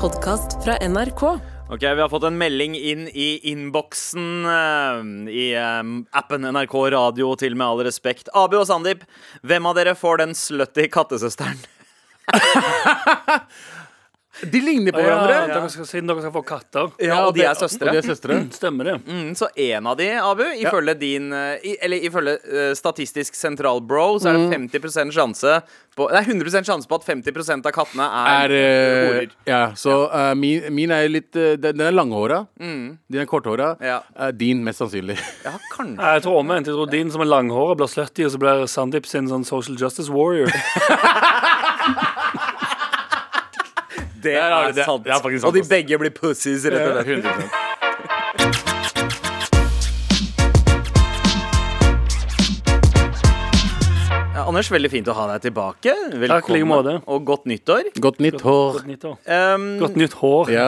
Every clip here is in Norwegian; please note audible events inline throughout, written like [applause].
podkast fra NRK. Ok, Vi har fått en melding inn i innboksen eh, i eh, appen NRK Radio, til med all respekt. Abu og Sandeep, hvem av dere får den slutty kattesøsteren? De ligner på Ja, hverandre. dere skal, siden dere skal få katter. Ja, og de det- er søstre. Og de er søstre. Stemmer det. Mm, så en av de, Abu, ifølge din eh, i, Eller ifølge eh, Statistisk sentralbro, så er det 50 sjanse på Nei, 100 sjanse på at 50 av kattene er, Er, eh, horer. ja, Mm. så eh, min, min er jo litt eh, Den den er langhåra. Din er korthåra. Ja. Eh, din mest sannsynlig. [laughs] Ja, kanskje. Nei, Jeg tror omvendt. Jeg tror din som er langhåret, blir slutty, og så blir Sandeep sin sånn social justice warrior. Det er- det er- det er faktisk sant, Og de ass. begge blir pussies, rett og slett. 100%. Ja, Anders, veldig fint å ha deg tilbake. Velkommen Takk, i like måte. og godt nyttår. Godt nytt hår. Godt nytt år. Um, Godt nytt hår. Ja.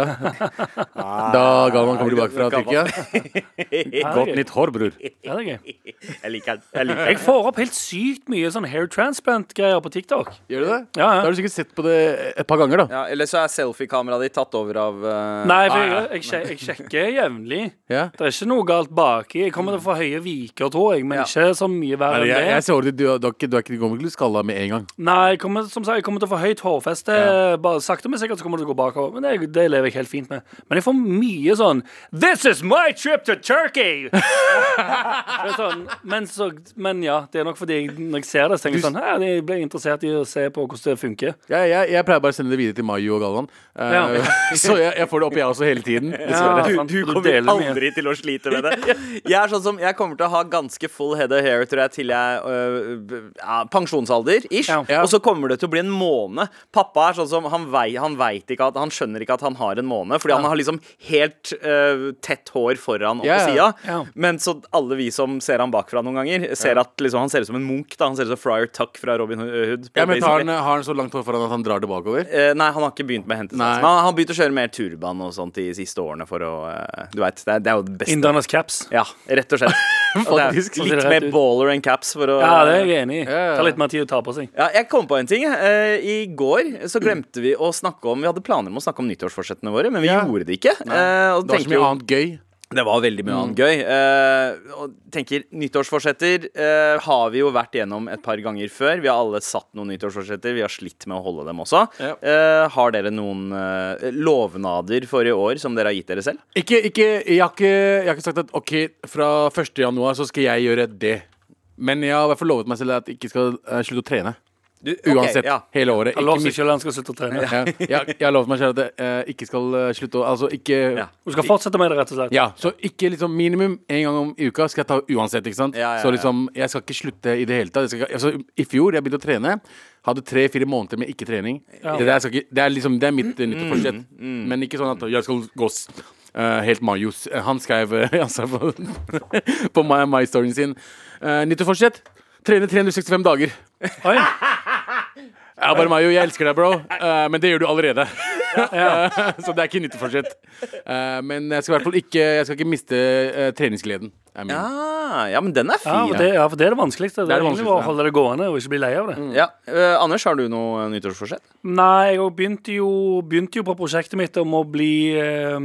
Da Ah. Galvan kommer tilbake fra Tyrkia. Ja, Godt det er gøy. nytt hår, bror. Ja, det er gøy. [laughs] jeg liker den. Jeg liker Jeg den. får opp helt sykt mye sånn hair transplant-greier på TikTok. Gjør du det? Ja, ja. Da har du sikkert sett på det et par ganger, da. Ja, eller så er selfiekameraet ditt tatt over av eh, Nei, for jeg, jeg, sje- jeg sjekker jevnlig. Ja. Det er ikke noe galt baki. Jeg kommer til å få høye viker, tror jeg, men Ja. ikke så mye verre Jeg, jeg, enn det. ser over det, du, du, er ikke, du er ikke du kommer ikke til å skalle av med en gang. Nei, jeg kommer, som sagt, jeg kommer til å få høyt hårfeste. Bare Sakte, men sikkert så kommer det til å gå bakover. Men det, det lever jeg helt fint med. Men jeg får mye sånn This is my trip to Turkey! [laughs] Det er sånn, men, så, men ja, det er nok fordi jeg, når jeg ser det, så tenker jeg sånn «Hæ, Jeg ble interessert i å se på hvordan det funker. Jeg, jeg, jeg pleier bare å sende det videre til Mayu og Galvan. Eh, Ja. [laughs] så jeg, jeg får det opp, jeg også, hele tiden. Dessverre. Ja, Du, sant, du du kommer deler mye. aldri til å slite [laughs] med det. Jeg er sånn som, jeg kommer til å ha ganske full head of hair tror jeg, til jeg øh, b- ja, pensjonsalder. ish Ja. Ja. Og så kommer det til å bli en måned. Pappa er sånn som, han, vei, han, vet ikke at, han skjønner ikke at han har en måned, fordi han har liksom helt øh, tett hår foran og på Ja, sida. ja. Ja. Men så alle vi som ser han bakfra noen ganger, ser at liksom, han ser ut som en munk. da Han ser ut som Friar Tuck fra Robin Hood. Ja, men basically. har han, har han så langt hår foran at han drar det bakover? Eh, nei, han har ikke begynt med hentesans. Nei. Men han har begynt å kjøre mer turban og sånt de siste årene for å eh, Du veit, det, er- det er jo det beste. Indianas caps. Ja, rett og [laughs] slett. Og det er Faktisk. Litt Rett mer ut. baller and caps for å Ja, det er jeg enig i. ja, ja. Tar litt mer tid å ta på seg. Ja, jeg kom på en ting. eh, I går så glemte vi å snakke om Vi hadde planer om å snakke om nyttårsforsettene våre, men vi Ja. gjorde det ikke. Eh, og Det var tenker så mye jo- annet gøy. Det var veldig mye annet gøy. Eh, og tenker, Nyttårsforsetter eh, har vi jo vært gjennom et par ganger før. Vi har alle satt noen nyttårsforsetter. Vi har slitt med å holde dem også. Ja. Eh, har dere noen eh, lovnader for i år som dere har gitt dere selv? Ikke, ikke, jeg, har ikke, jeg har ikke sagt at OK, fra 1. januar så skal jeg gjøre det. Men jeg har i hvert fall lovet meg selv at jeg ikke skal eh, slutte å trene. ok, Uansett. ja. Hele året. Han Ikke lover seg miste- selv at han skal slutte å trene. ja, jeg, jeg har lovet meg selv at jeg eh, ikke skal eh, slutte å Altså ikke Ja. ja. Du skal fortsette med det, rett og slett. Så ikke liksom minimum én gang om uka skal jeg ta uansett, ikke sant? Ja, ja, Så ja. liksom, jeg skal ikke slutte i det hele tatt. Jeg skal, altså, I fjor jeg begynte å trene. Hadde tre-fire måneder med ikke-trening. Det, der skal ikke- det er liksom Det er mitt Mm, eh, nyttårsforsett. Men ikke sånn at jeg skal gå s- eh, helt Marius. Eh, Han skrev eh, [laughs] altså, på, på [laughs] my, my storyen sin uh, nyttårsforsett. Trene 365 dager. Oi, Ja, bare Mayo, jeg elsker deg, bro. Eh, men det gjør du allerede. [laughs] Eh, så det er ikke nytteforsett. Uh, men jeg skal i hvert fall ikke Jeg skal ikke miste eh, treningsgleden. er min. Ah, ja, men den er ja, fin. for det, ja, for det er det vanskeligste. er Det er det egentlig vanskeligste, bare å holde det gående og ikke bli lei av det. Ja. Eh, Anders, har du noe eh, nyttårsforsett? Nei, jeg begynte jo, begynte jo på prosjektet mitt om å bli eh,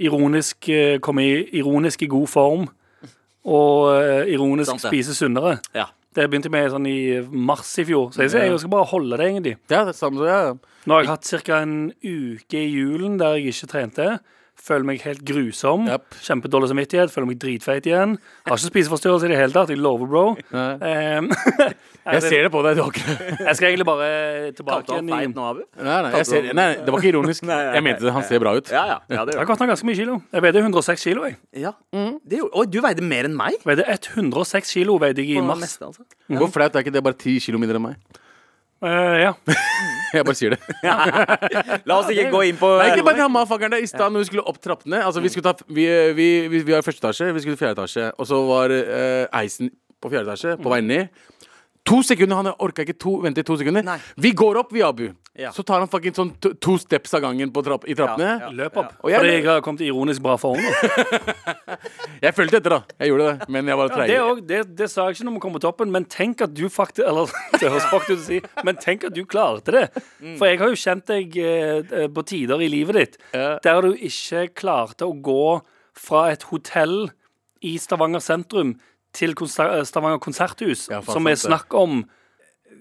ironisk eh, Komme i ironisk i god form. Og eh, ironisk Sant det. spise sunnere. Ja. Det begynte jeg med sånn i mars i fjor. Så jeg, sier, jeg skal bare holde det, egentlig. Ja, det er samme som jeg. Nå har jeg hatt ca. en uke i julen der jeg ikke trente. Føler meg helt grusom. Japp. Kjempedårlig samvittighet. Føler meg dritfeit igjen. Har ikke spiseforstyrrelse i det hele tatt. Jeg lover, bro. [laughs] Em, Jeg ser det på deg. Du har ikke jeg skal egentlig bare tilbake Kalte han igjen i feit nå, Abu? nei, nei, jeg ser, nei, det var ikke ironisk. nei, Jeg mente det. Han ser bra ut. Ja, ja. ja det Jeg gjør Mm. har gått ned ganske mye kilo. Jeg veide 106 kilo, jeg. han. Ja. Det gjorde- Oi, du veide mer enn [laughs] meg? Jeg Veide 106 kilo veide jeg i På mars. neste, altså. Hvor flaut er ikke det? Bare ti kilo mindre enn meg. Eh, ja. Jeg bare sier det. La oss ikke gå inn på Nei, ikke bare han motherfuckeren der i stad når vi skulle opp trappene. Altså, vi, skulle ta, vi, vi, vi, vi var i første etasje, vi skulle i fjerde etasje, og så var eh, Eisen på fjerde etasje, på vei ned. To sekunder, Han orka ikke to, vente i to sekunder. Nei. Vi går opp, vi, Abu. Ja. Så tar han fucking sånn to, to steps av gangen på trapp, i trappene. Ja, Løp opp. Og jeg- Fordi jeg har kommet i ironisk bra form. nå. Jeg fulgte etter, da. Jeg gjorde det, men jeg var treig. Det, er også- det, det sa jeg ikke når vi kom på toppen, men tenk at du faktisk Eller [laughs] det høres fucked ut å si, men tenk at du klarte det. For jeg har jo kjent deg eh, eh, på tider i livet ditt Ja. der du ikke klarte å gå fra et hotell i Stavanger sentrum til konser eh, Stavanger konserthus, Ja, faen, som er sant snakk om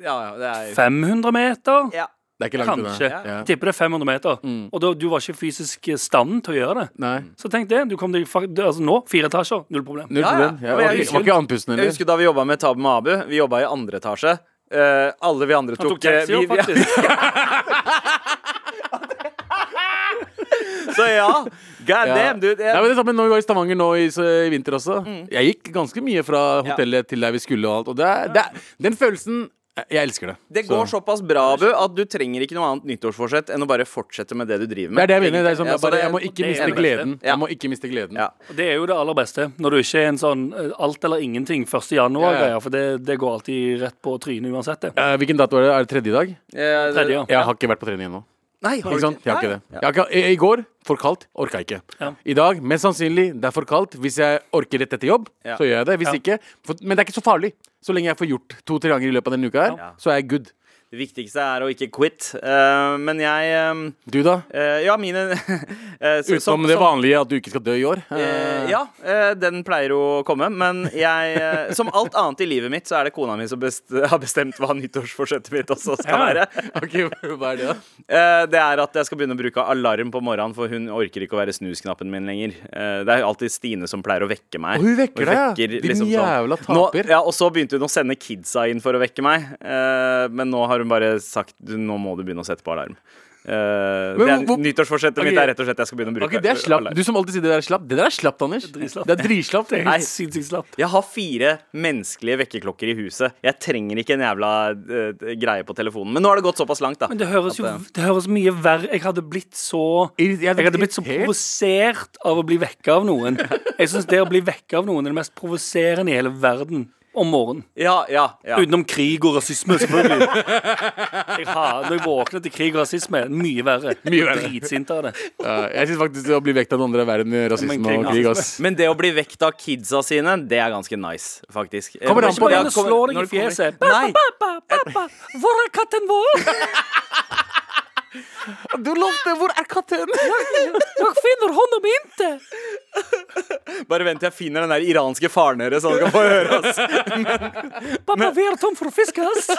Ja, ja, det er 500 meter. ja. Det er ikke langt unna. Kanskje. Ja. Mm. Jeg Tipper det er 500 meter. Og da, du var ikke fysisk i stand til å gjøre det. Nei. Så tenk det. Du kom deg fak- du- altså nå, fire etasjer, null problem. Ja, Null ja. problem. Og Jeg jeg var, ikke- husker- var ikke andpusten Jeg heller. husker da vi jobba med Tab med Abu. Vi jobba i andre etasje. Eh, alle vi andre Han tok, eh, tok taxi vi, òg, vi, [laughs] [laughs] faktisk. Så ja, god Ja. damn, dude. Mm. Nei, Jeg, men det samme når vi var i Stavanger nå i, så, i vinter også. Jeg gikk ganske mye fra hotellet til der vi skulle og alt. Og det er, det er, den følelsen Jeg elsker det. det går såpass bra, Abu, at du trenger ikke noe annet nyttårsforsett enn å bare fortsette med det du driver med. Det er det jeg mener. Det er sånn, Ja, jeg, så bare, det- jeg må ikke det er miste det beste. gleden. Ja. Jeg må ikke miste gleden. Ja. Og Det er jo det aller beste, når du ikke er en sånn eh, alt eller ingenting 1. januar-greie, Ja, ja. for det, det går alltid rett på trynet uansett, det. Eh, hvilken dato er det? Er det tredje i dag? Eh, det- Tredje, ja. Jeg har ikke vært på trening ennå. Nei, har Ikke du sant? Jeg har ikke det. Nei. Jeg har ikke, i, I går for kaldt. Orka ikke. Ja. I dag mest sannsynlig det er for kaldt. Hvis jeg orker rett etter jobb, Ja. så gjør jeg det. Hvis ikke for, Men det er ikke så farlig. Så lenge jeg får gjort to-tre ganger i løpet av denne uka her, Ja. så er jeg good. Det viktigste er å ikke quit. Eh, men jeg Du, da? eh, eh, Ja, mine [laughs] eh, så- som- Utenom det som- vanlige at du ikke skal dø i år. Eh, Eh, ja, eh, den pleier å komme. Men jeg, eh, som alt annet i livet mitt, så er det kona mi som best, har bestemt hva nyttårsforsettet mitt også skal Ja. være. [laughs] Ok, hva er det da? Eh, det er at jeg skal begynne å bruke alarm på morgenen, for hun orker ikke å være snusknappen min lenger. Eh, det er alltid Stine som pleier å vekke meg. Og hun vekker deg, ja. vekker Din sånn. jævla taper. Nå, ja, og så begynte hun å sende kidsa inn for å vekke meg, eh, men nå har hun bare sagt "Du, nå må du begynne å sette på alarm. Eh, det er, hvor- nyttårsforsettet Ok. mitt er rett og slett jeg skal begynne å bruke Ok, det er slapp. alarm. Du som alltid sier det der er slapp. Det der er slapt, Anders. Det dritslapt. er dritslapt. Det er Nei. helt sinnssykt slapt. Jeg har fire menneskelige vekkerklokker i huset. Jeg trenger ikke en jævla eh, greie på telefonen. Men nå har det gått såpass langt, da. Men det høres jo At, eh, det høres mye verre Jeg hadde blitt så Jeg hadde Jeg hadde blitt så irritert. provosert av å bli vekka [laughs] av noen. Jeg syns det å bli vekka av noen er det mest provoserende i hele verden om morgenen. eh, ja, ja, ja. Utenom krig og rasisme, selvfølgelig. [laughs] Jeg har, når jeg våkner til krig og rasisme, mye verre. Mye verre. Dritsint av det. Ja, jeg syns faktisk det å bli vekt av den andre er verre enn Men rasisme krig- og krig. ass Men det å bli vekt av kidsa sine, det er ganske nice, faktisk. Kommer Eh, an på- ja, Bare gjerne slå deg når i det kommer- fjeset. Nei. Pappa, pappa, hvor er katten vår? [laughs] Du lovte! Hvor er katten? Jeg finner hånda mi ikke. Bare vent til jeg finner den der iranske faren deres, så han kan få høre oss. Pappa, vi er tom for fisk, ass.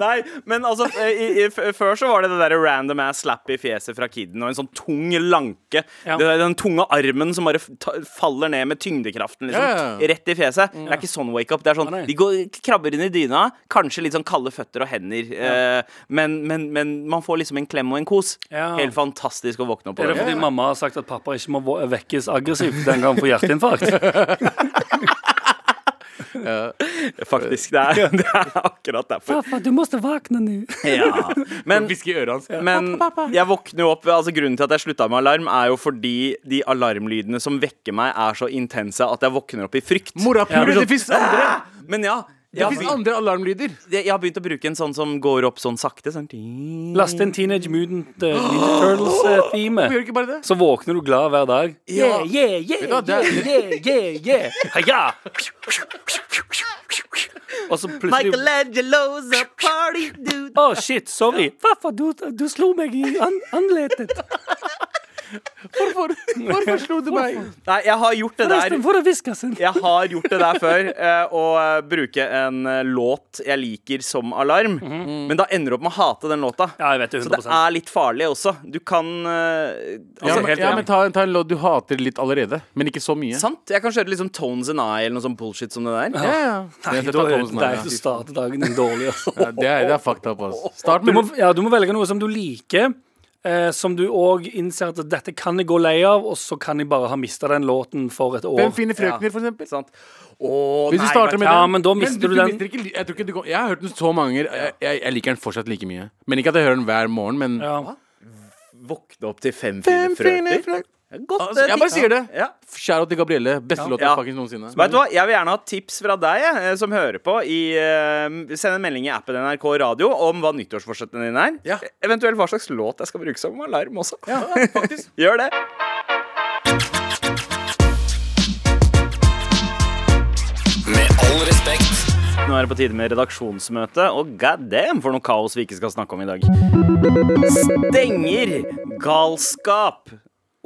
Nei, men altså, eh, i, i, f- før så var det det derre random ass slap i fjeset fra kiden, og en sånn tung lanke. Ja. Det der, den tunge armen som bare f- ta, faller ned med tyngdekraften, liksom. Ja, ja. Rett i fjeset. Det er ikke sånn wake-up. Det er sånn Nei, nei. de går, krabber inn i dyna, kanskje litt sånn kalde føtter og hender, eh, men, men, men man får liksom en klem og en kos. Ja. Helt fantastisk å våkne opp på Er det det. fordi mamma har sagt at pappa ikke må vå- vekkes aggressivt den gang han får hjerteinfarkt? Faktisk. Det er, [laughs] det er akkurat derfor. [laughs] Pappa, du må våkne nå. Ja. Men Hviske i øret hans. Men jeg våkner jo opp altså Grunnen til at jeg slutta med alarm, er jo fordi de alarmlydene som vekker meg, er så intense at jeg våkner opp i frykt. Morapuler! Ja. Det fins andre, Men ja. Jeg det har, finnes begynt, andre alarmlyder. jeg har begynt å bruke en sånn som går opp sånn sakte. Sånn. ting. Laste inn Teenage Mutant eh, Ninja Turtles-theme. [gasps] Gjør ikke bare det? Så våkner du glad hver dag. Ja. Yeah, yeah, yeah, Vet du hva, yeah, det- yeah, yeah, yeah. Heia! Og så plutselig Michelangelo's a party dude. Å, shit, sorry. Farfar, du, du slo meg i an anletet. Hvorfor, hvorfor slo du meg? Nei, jeg har gjort det der. Forresten, hvor er viskasen? Jeg har gjort det der før, [laughs] eh, å eh, bruke en eh, låt jeg liker som alarm. Men da ender du opp med å hate den låta. Mhm. Ja, jeg vet det, Så det 100%. er litt farlig også. Du kan eh, Ja, altså, men, ja, men ta, ta en låt du hater litt allerede, men ikke så mye. Sant? Jeg kan kjøre liksom Tones and I eller noe sånn bullshit som det der. Ja, ja. Nei, Jeg skal da ta er Tones and det I, deg ja. som starter dagen din dårlig. Altså. Ja, det, er, det er fucked up, ass. Start [laughs] Du med må, ja, du må velge noe som du liker, eh, som du òg innser at dette kan jeg gå lei av, og så kan jeg bare ha mista den låten for et Hvem år. finner frøkner, for eksempel? Sant? Åh, Hvis du nei, starter vet med du- Ja, den men da mister du den. mister ikke, li- jeg, tror ikke du, går- jeg har hørt den så mange ganger. Jeg, jeg, jeg liker den fortsatt like mye. Men ikke at jeg hører den hver morgen, men Ja. Våkne opp til fem fine frøker. frøkner Godt, Altså, eh, jeg bare tips. sier det. Ja. Shout out til Gabrielle. Beste låta Ja. fuckings noensinne. Vet du hva? Jeg vil gjerne ha tips fra deg eh, som hører på. I, eh, send en melding i appen NRK Radio om hva nyttårsforsettene dine er. Ja. Eventuelt hva slags låt jeg skal bruke som alarm også. Ja, faktisk. [laughs] Gjør det. Med all respekt. Nå er det på tide med redaksjonsmøte, og god damn for noe kaos vi ikke skal snakke om i dag. Stenger galskap.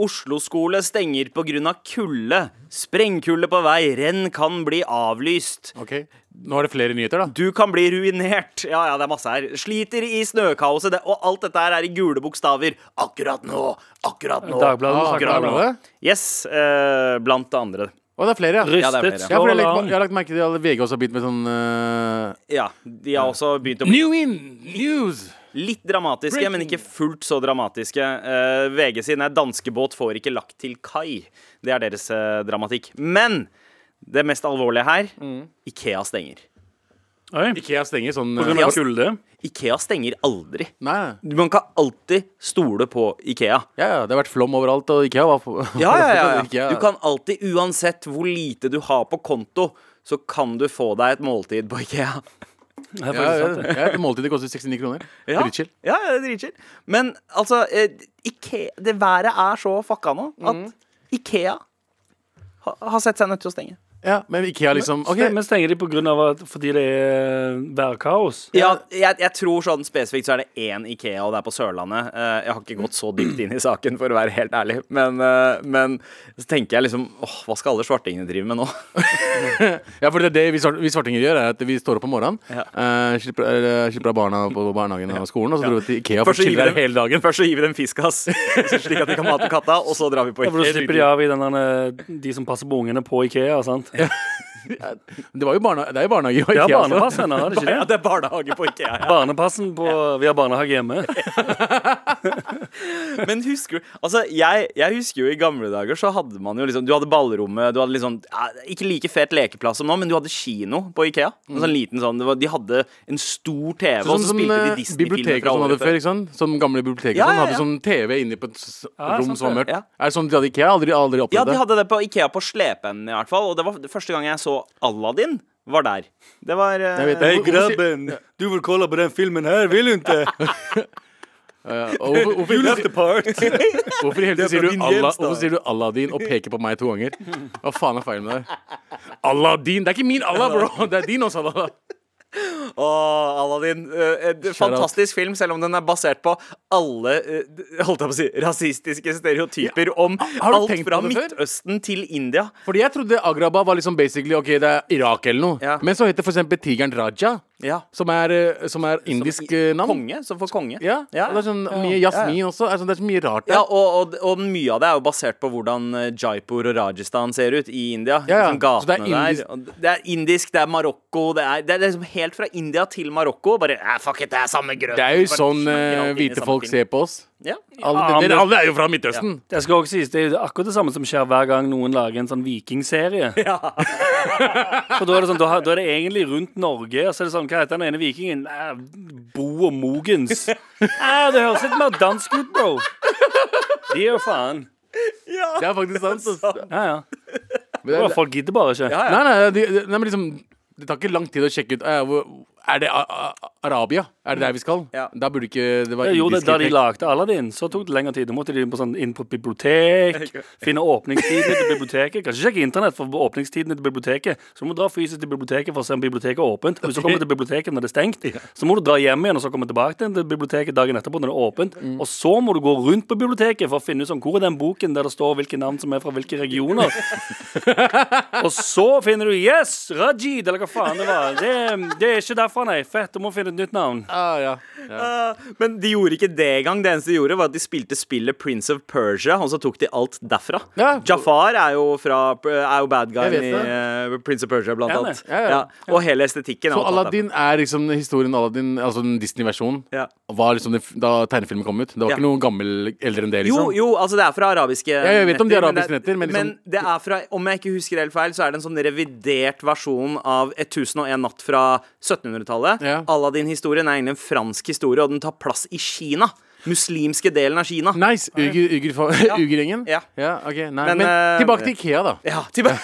Oslo-skole stenger pga. kulde. Sprengkulde på vei. Renn kan bli avlyst. Ok, Nå er det flere nyheter, da. Du kan bli ruinert. Ja, ja, det er masse her. Sliter i snøkaoset. Det, og alt dette her er i gule bokstaver. Akkurat nå. Akkurat nå. Dagbladet Ah, snakker om det. Dagbladet. Yes. eh, blant det andre. Å, det er flere, Ja, ja. det er Rystet flere. Ja, for jeg, har lagt, stråland. jeg har lagt merke til at VG også har begynt med sånn eh, Ja. De har også begynt å bli New in news! litt dramatiske, men ikke fullt så dramatiske. Eh, VG sin er 'Danskebåt får ikke lagt til kai'. Det er deres eh, dramatikk. Men det mest alvorlige her Mm. Ikea stenger. Oi. Ikea stenger sånn På grunn eh, av kulde. Ikea stenger aldri. Nei. Man kan alltid stole på Ikea. Ja, ja, det har vært flom overalt, og Ikea var på Ja, ja, ja, [laughs] Ikea. ja. Du kan alltid, uansett hvor lite du har på konto, så kan du få deg et måltid på [laughs] Ikea. Det er ja, faktisk ja, sant, det. ja, det Måltidet koster 69 kroner. Ja, Dritchill. ja, ja, det er dritchill. Men altså, eh, Ikea, det været er så fucka nå at Ikea ha, har sett seg nødt til å stenge. Ja, men Ikea liksom OK. Men stenger de på grunn av at, fordi det er eh, værkaos? Ja, jeg, jeg tror sånn spesifikt så er det én Ikea, og det er på Sørlandet. Eh, jeg har ikke gått så dypt inn i saken, for å være helt ærlig. Men, eh, men så tenker jeg liksom åh, hva skal alle svartingene drive med nå? Ja, for det, er det vi, svart, vi svartinger gjør, er at vi står opp om morgenen, eh, slipper, eh, slipper av barna på barnehagen og skolen, og så drar vi til Ikea for å Først så gir chille vi der dem, hele dagen. først så gir vi dem fiskas, [laughs] slik at de kan mate katta, og så drar vi på Ja, for Da Ikea. slipper de av i den der, de som passer på ungene på Ikea. sant? Ja, Det, var jo barna, det er jo barnehage og De har Ikea. også. altså. barnepass ennå, har de ikke [laughs] Ja, det? det er barnehage på Ikea. Ja. Barnepassen på, Vi har barnehage hjemme. [laughs] Men husker du Altså, jeg, jeg husker jo i gamle dager så hadde man jo liksom Du hadde ballrommet, du hadde liksom ja, Ikke like fet lekeplass som nå, men du hadde kino på Ikea. En sånn liten sånn det var, De hadde en stor TV, og Sånn så som spilte eh, de Disney-filmer biblioteker fra og sånn året hadde før. før. ikke sant? Sånn gamle biblioteker Ja, og sånn, ja, hadde ja. sånn TV inne på et s- Ja, rom sant som var det. mørkt. Ja. Er det sånn de hadde Ikea? Aldri, aldri opplevd Ja, de det. hadde det på Ikea på slepeenden, i hvert fall. Og det var første gang jeg så Aladdin, var der. Det var eh, Jeg vet det. Hei, grabben, du vil kolla på den filmen her, vil du [laughs] ikke? Ja, Eh, og hvorfor, hvorfor, hvorfor, part. hvorfor i helvete er sier, fra du din Allah- hjemstad. hvorfor sier du Aladdin og peker på meg to ganger? Hva faen er feilen med deg? Aladdin! Det er ikke min Allah, bro! Det er din også, Allah. Åh, Aladdin. eh, en Shout out. fantastisk film, selv om den er basert på alle eh, holdt jeg på å si, rasistiske stereotyper om har du alt tenkt fra på det før? Midtøsten til India. Fordi jeg trodde Agraba var liksom basically Ok, det er Irak eller noe. Ja. Men så heter for eksempel tigeren Raja, Ja. som er, eh, som er indisk eh, navn. Konge, som for konge. Ja. ja. og Det er sånn mye jasmin også. Er sånn, det er så mye rart der. Ja, og, og, og mye av det er jo basert på hvordan eh, Jaipur og Rajasthan ser ut i India. Ja, ja. Liksom Så det er gatene der. indisk- Og Det er indisk, det er Marokko Det er, det er liksom helt fra India til Marokko. Bare eh, fuck it, det er samme grøt. Det er jo Bare sånn slenger eh, alt inn i hvite samme folk film. ser på oss. Ja. Alle, Ja, dere- men- alle er jo fra Midtøsten. Det skal også sies, det er jo akkurat det samme som skjer hver gang noen lager en sånn vikingserie. [laughs] [laughs] For da er, det sånn, da, har- da er det egentlig rundt Norge, og så er det sånn, hva heter den ene vikingen? Eh, Bo og Mogens. Eh, det høres litt mer dansk ut, bro. De er jo faen. Det er faktisk sant. ass. Ja, ja. Men det Bra, er, folk gidder bare ikke. ja. nei, nei, de, de, nei, men liksom Det tar ikke lang tid å sjekke ut eh, hvor, Er det a, a, Arabia? Er det der vi skal? Ja. Da burde ikke det Ja, være Eh, Jo, det, indisk da de effekt. lagde Aladdin, så tok det lengre tid. Da måtte de inn på, sånn, inn på et [laughs] bibliotek, finne åpningstidene til biblioteket. Kanskje sjekke internett for åpningstidene til biblioteket. Så du må dra fysisk til biblioteket for å se om biblioteket er åpent. Hvis du kommer til biblioteket når det er stengt, så må du dra hjem igjen og så komme tilbake til biblioteket dagen etterpå når det er åpent. Mm. Og så må du gå rundt på biblioteket for å finne ut sånn, hvor er den boken der det står hvilke navn som er fra hvilke [laughs] regioner. Og så finner du Yes! Rajid, eller hva faen det var. Det, det er ikke derfra, nei. Fett, du må finne et nytt navn. Ah, ja. Ja. Eh, Men de gjorde ikke det engang. Det eneste de gjorde, var at de spilte spillet Prince of Persia, og så tok de alt derfra. Ja. Jafar er jo, fra, er jo bad Jeg guyen vet i det. eh, Prince of Persia, blant Ja, annet. ja, ja. Og hele estetikken. er Så jo tatt derfra. Aladdin er liksom historien Aladdin, altså den Disney-versjonen, Ja. var liksom det, f- da tegnefilmen kom ut. Det var Ja. ikke noe gammel eldre enn det, Jo, liksom. jo, altså det er fra arabiske jeg vet om de arabiske men det er- netter, men liksom- det er fra, om jeg ikke husker helt feil, så er det en sånn revidert versjon av 1001 natt fra 1700-tallet. Ja. Aladdin-historien er egentlig en fransk historie, og den tar plass i Kina. muslimske delen av Kina. Nice. Uger- uger- [laughs] Ugergjengen? Ja. ja, ok, nei. Men, Men, eh, tilbake til Ikea, da. Ja, tilbake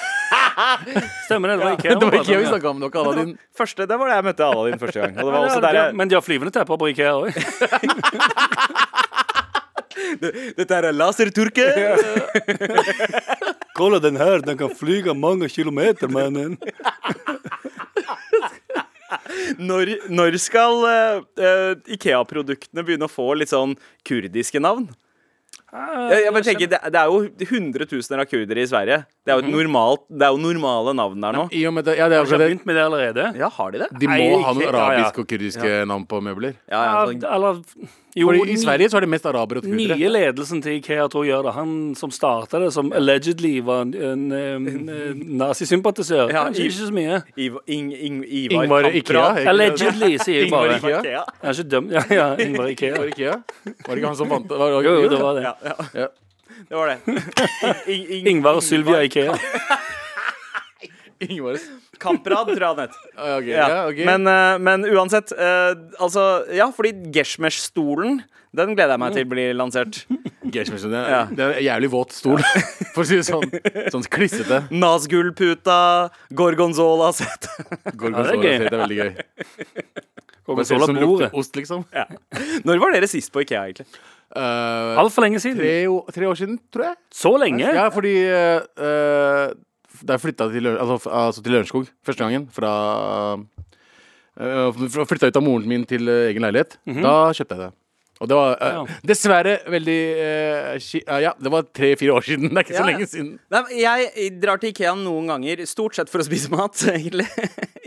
Stemmer det. Det var [laughs] Ikea. Det var vi pratet Ikea om, vi ja. snakka om, det var ikke Aladdin. Første, Det var det jeg møtte Aladdin første gang. Og det var [laughs] Ja, også det der blir- jeg, Men de har flyvende tepper på Ikea òg. Dette er laserturke. Kolla den her, den kan flyge mange kilometer, mannen. Når, når skal eh, eh, Ikea-produktene begynne å få litt sånn kurdiske navn? Jeg, jeg bare tenker, det, det er jo hundretusener av kurdere i Sverige. Det er jo, et normalt, det er jo normale navn der nå. I og med at, ja, det er Har akkurat det. begynt med det allerede? Ja, har de det? De må Nei, ha noen Ikea, ja. arabiske og kurdiske navn på møbler. Ja, ja, Ja, sånn- eller Jo, Fordi I ny- Sverige så er det mest arabere og kurdere. nye ledelsen til Ikea tror jeg gjør det. Han som starta det, som allegedly var en, en, em, eh, nazisympatisør. Ja, Kanskje i- ikke så [laughs] mye. Iv- Ing- Ing- Ivar Ingvar Ikea. Kamprad. er ikke det? Allegedly, sier jeg Ingvar bare. Ikea. Ikea. Jeg er ikke dømt. Ja, ja, Ingvar Ikea. Var det Ikea? Var det ikke han som vant var, var, Jo, jo, det var det. Ja, ja, Ja. det var det. Ing- Ing- Ingvar og Sylvia Ikea. Ingvar Kamprad, tror jeg han het. Ah, ok, Ja. ja, ok. Men, eh, men uansett, eh, altså Ja, fordi Geshmesh-stolen, den gleder jeg meg til blir lansert. Gersmersen, det, Ja. er, det er en jævlig våt stol, [laughs] for å si det sånn. Sånn klissete. Nazgul-puta, Gorgonzola-sett. Gorgonzola Ja, det er gøy. det er veldig gøy. Og Bare ser ut Sola som bordet. lukter ost, liksom. [laughs] Når var dere sist på Ikea, egentlig? Eh, Altfor lenge siden. tre, o- tre år siden, tror jeg. Så lenge? Ja, fordi eh, eh, da jeg flytta til, Løren- altså, f- altså til Lørenskog første gangen fra uh, Flytta ut av moren min til eh, egen leilighet. Da kjøpte jeg det. Og det var eh, Ja. dessverre veldig eh, ki- eh, Ja, det var tre-fire år siden. Det er ikke Ja, så ja. lenge siden. Nei, men jeg drar til Ikea noen ganger, stort sett for å spise mat, [laughs] egentlig.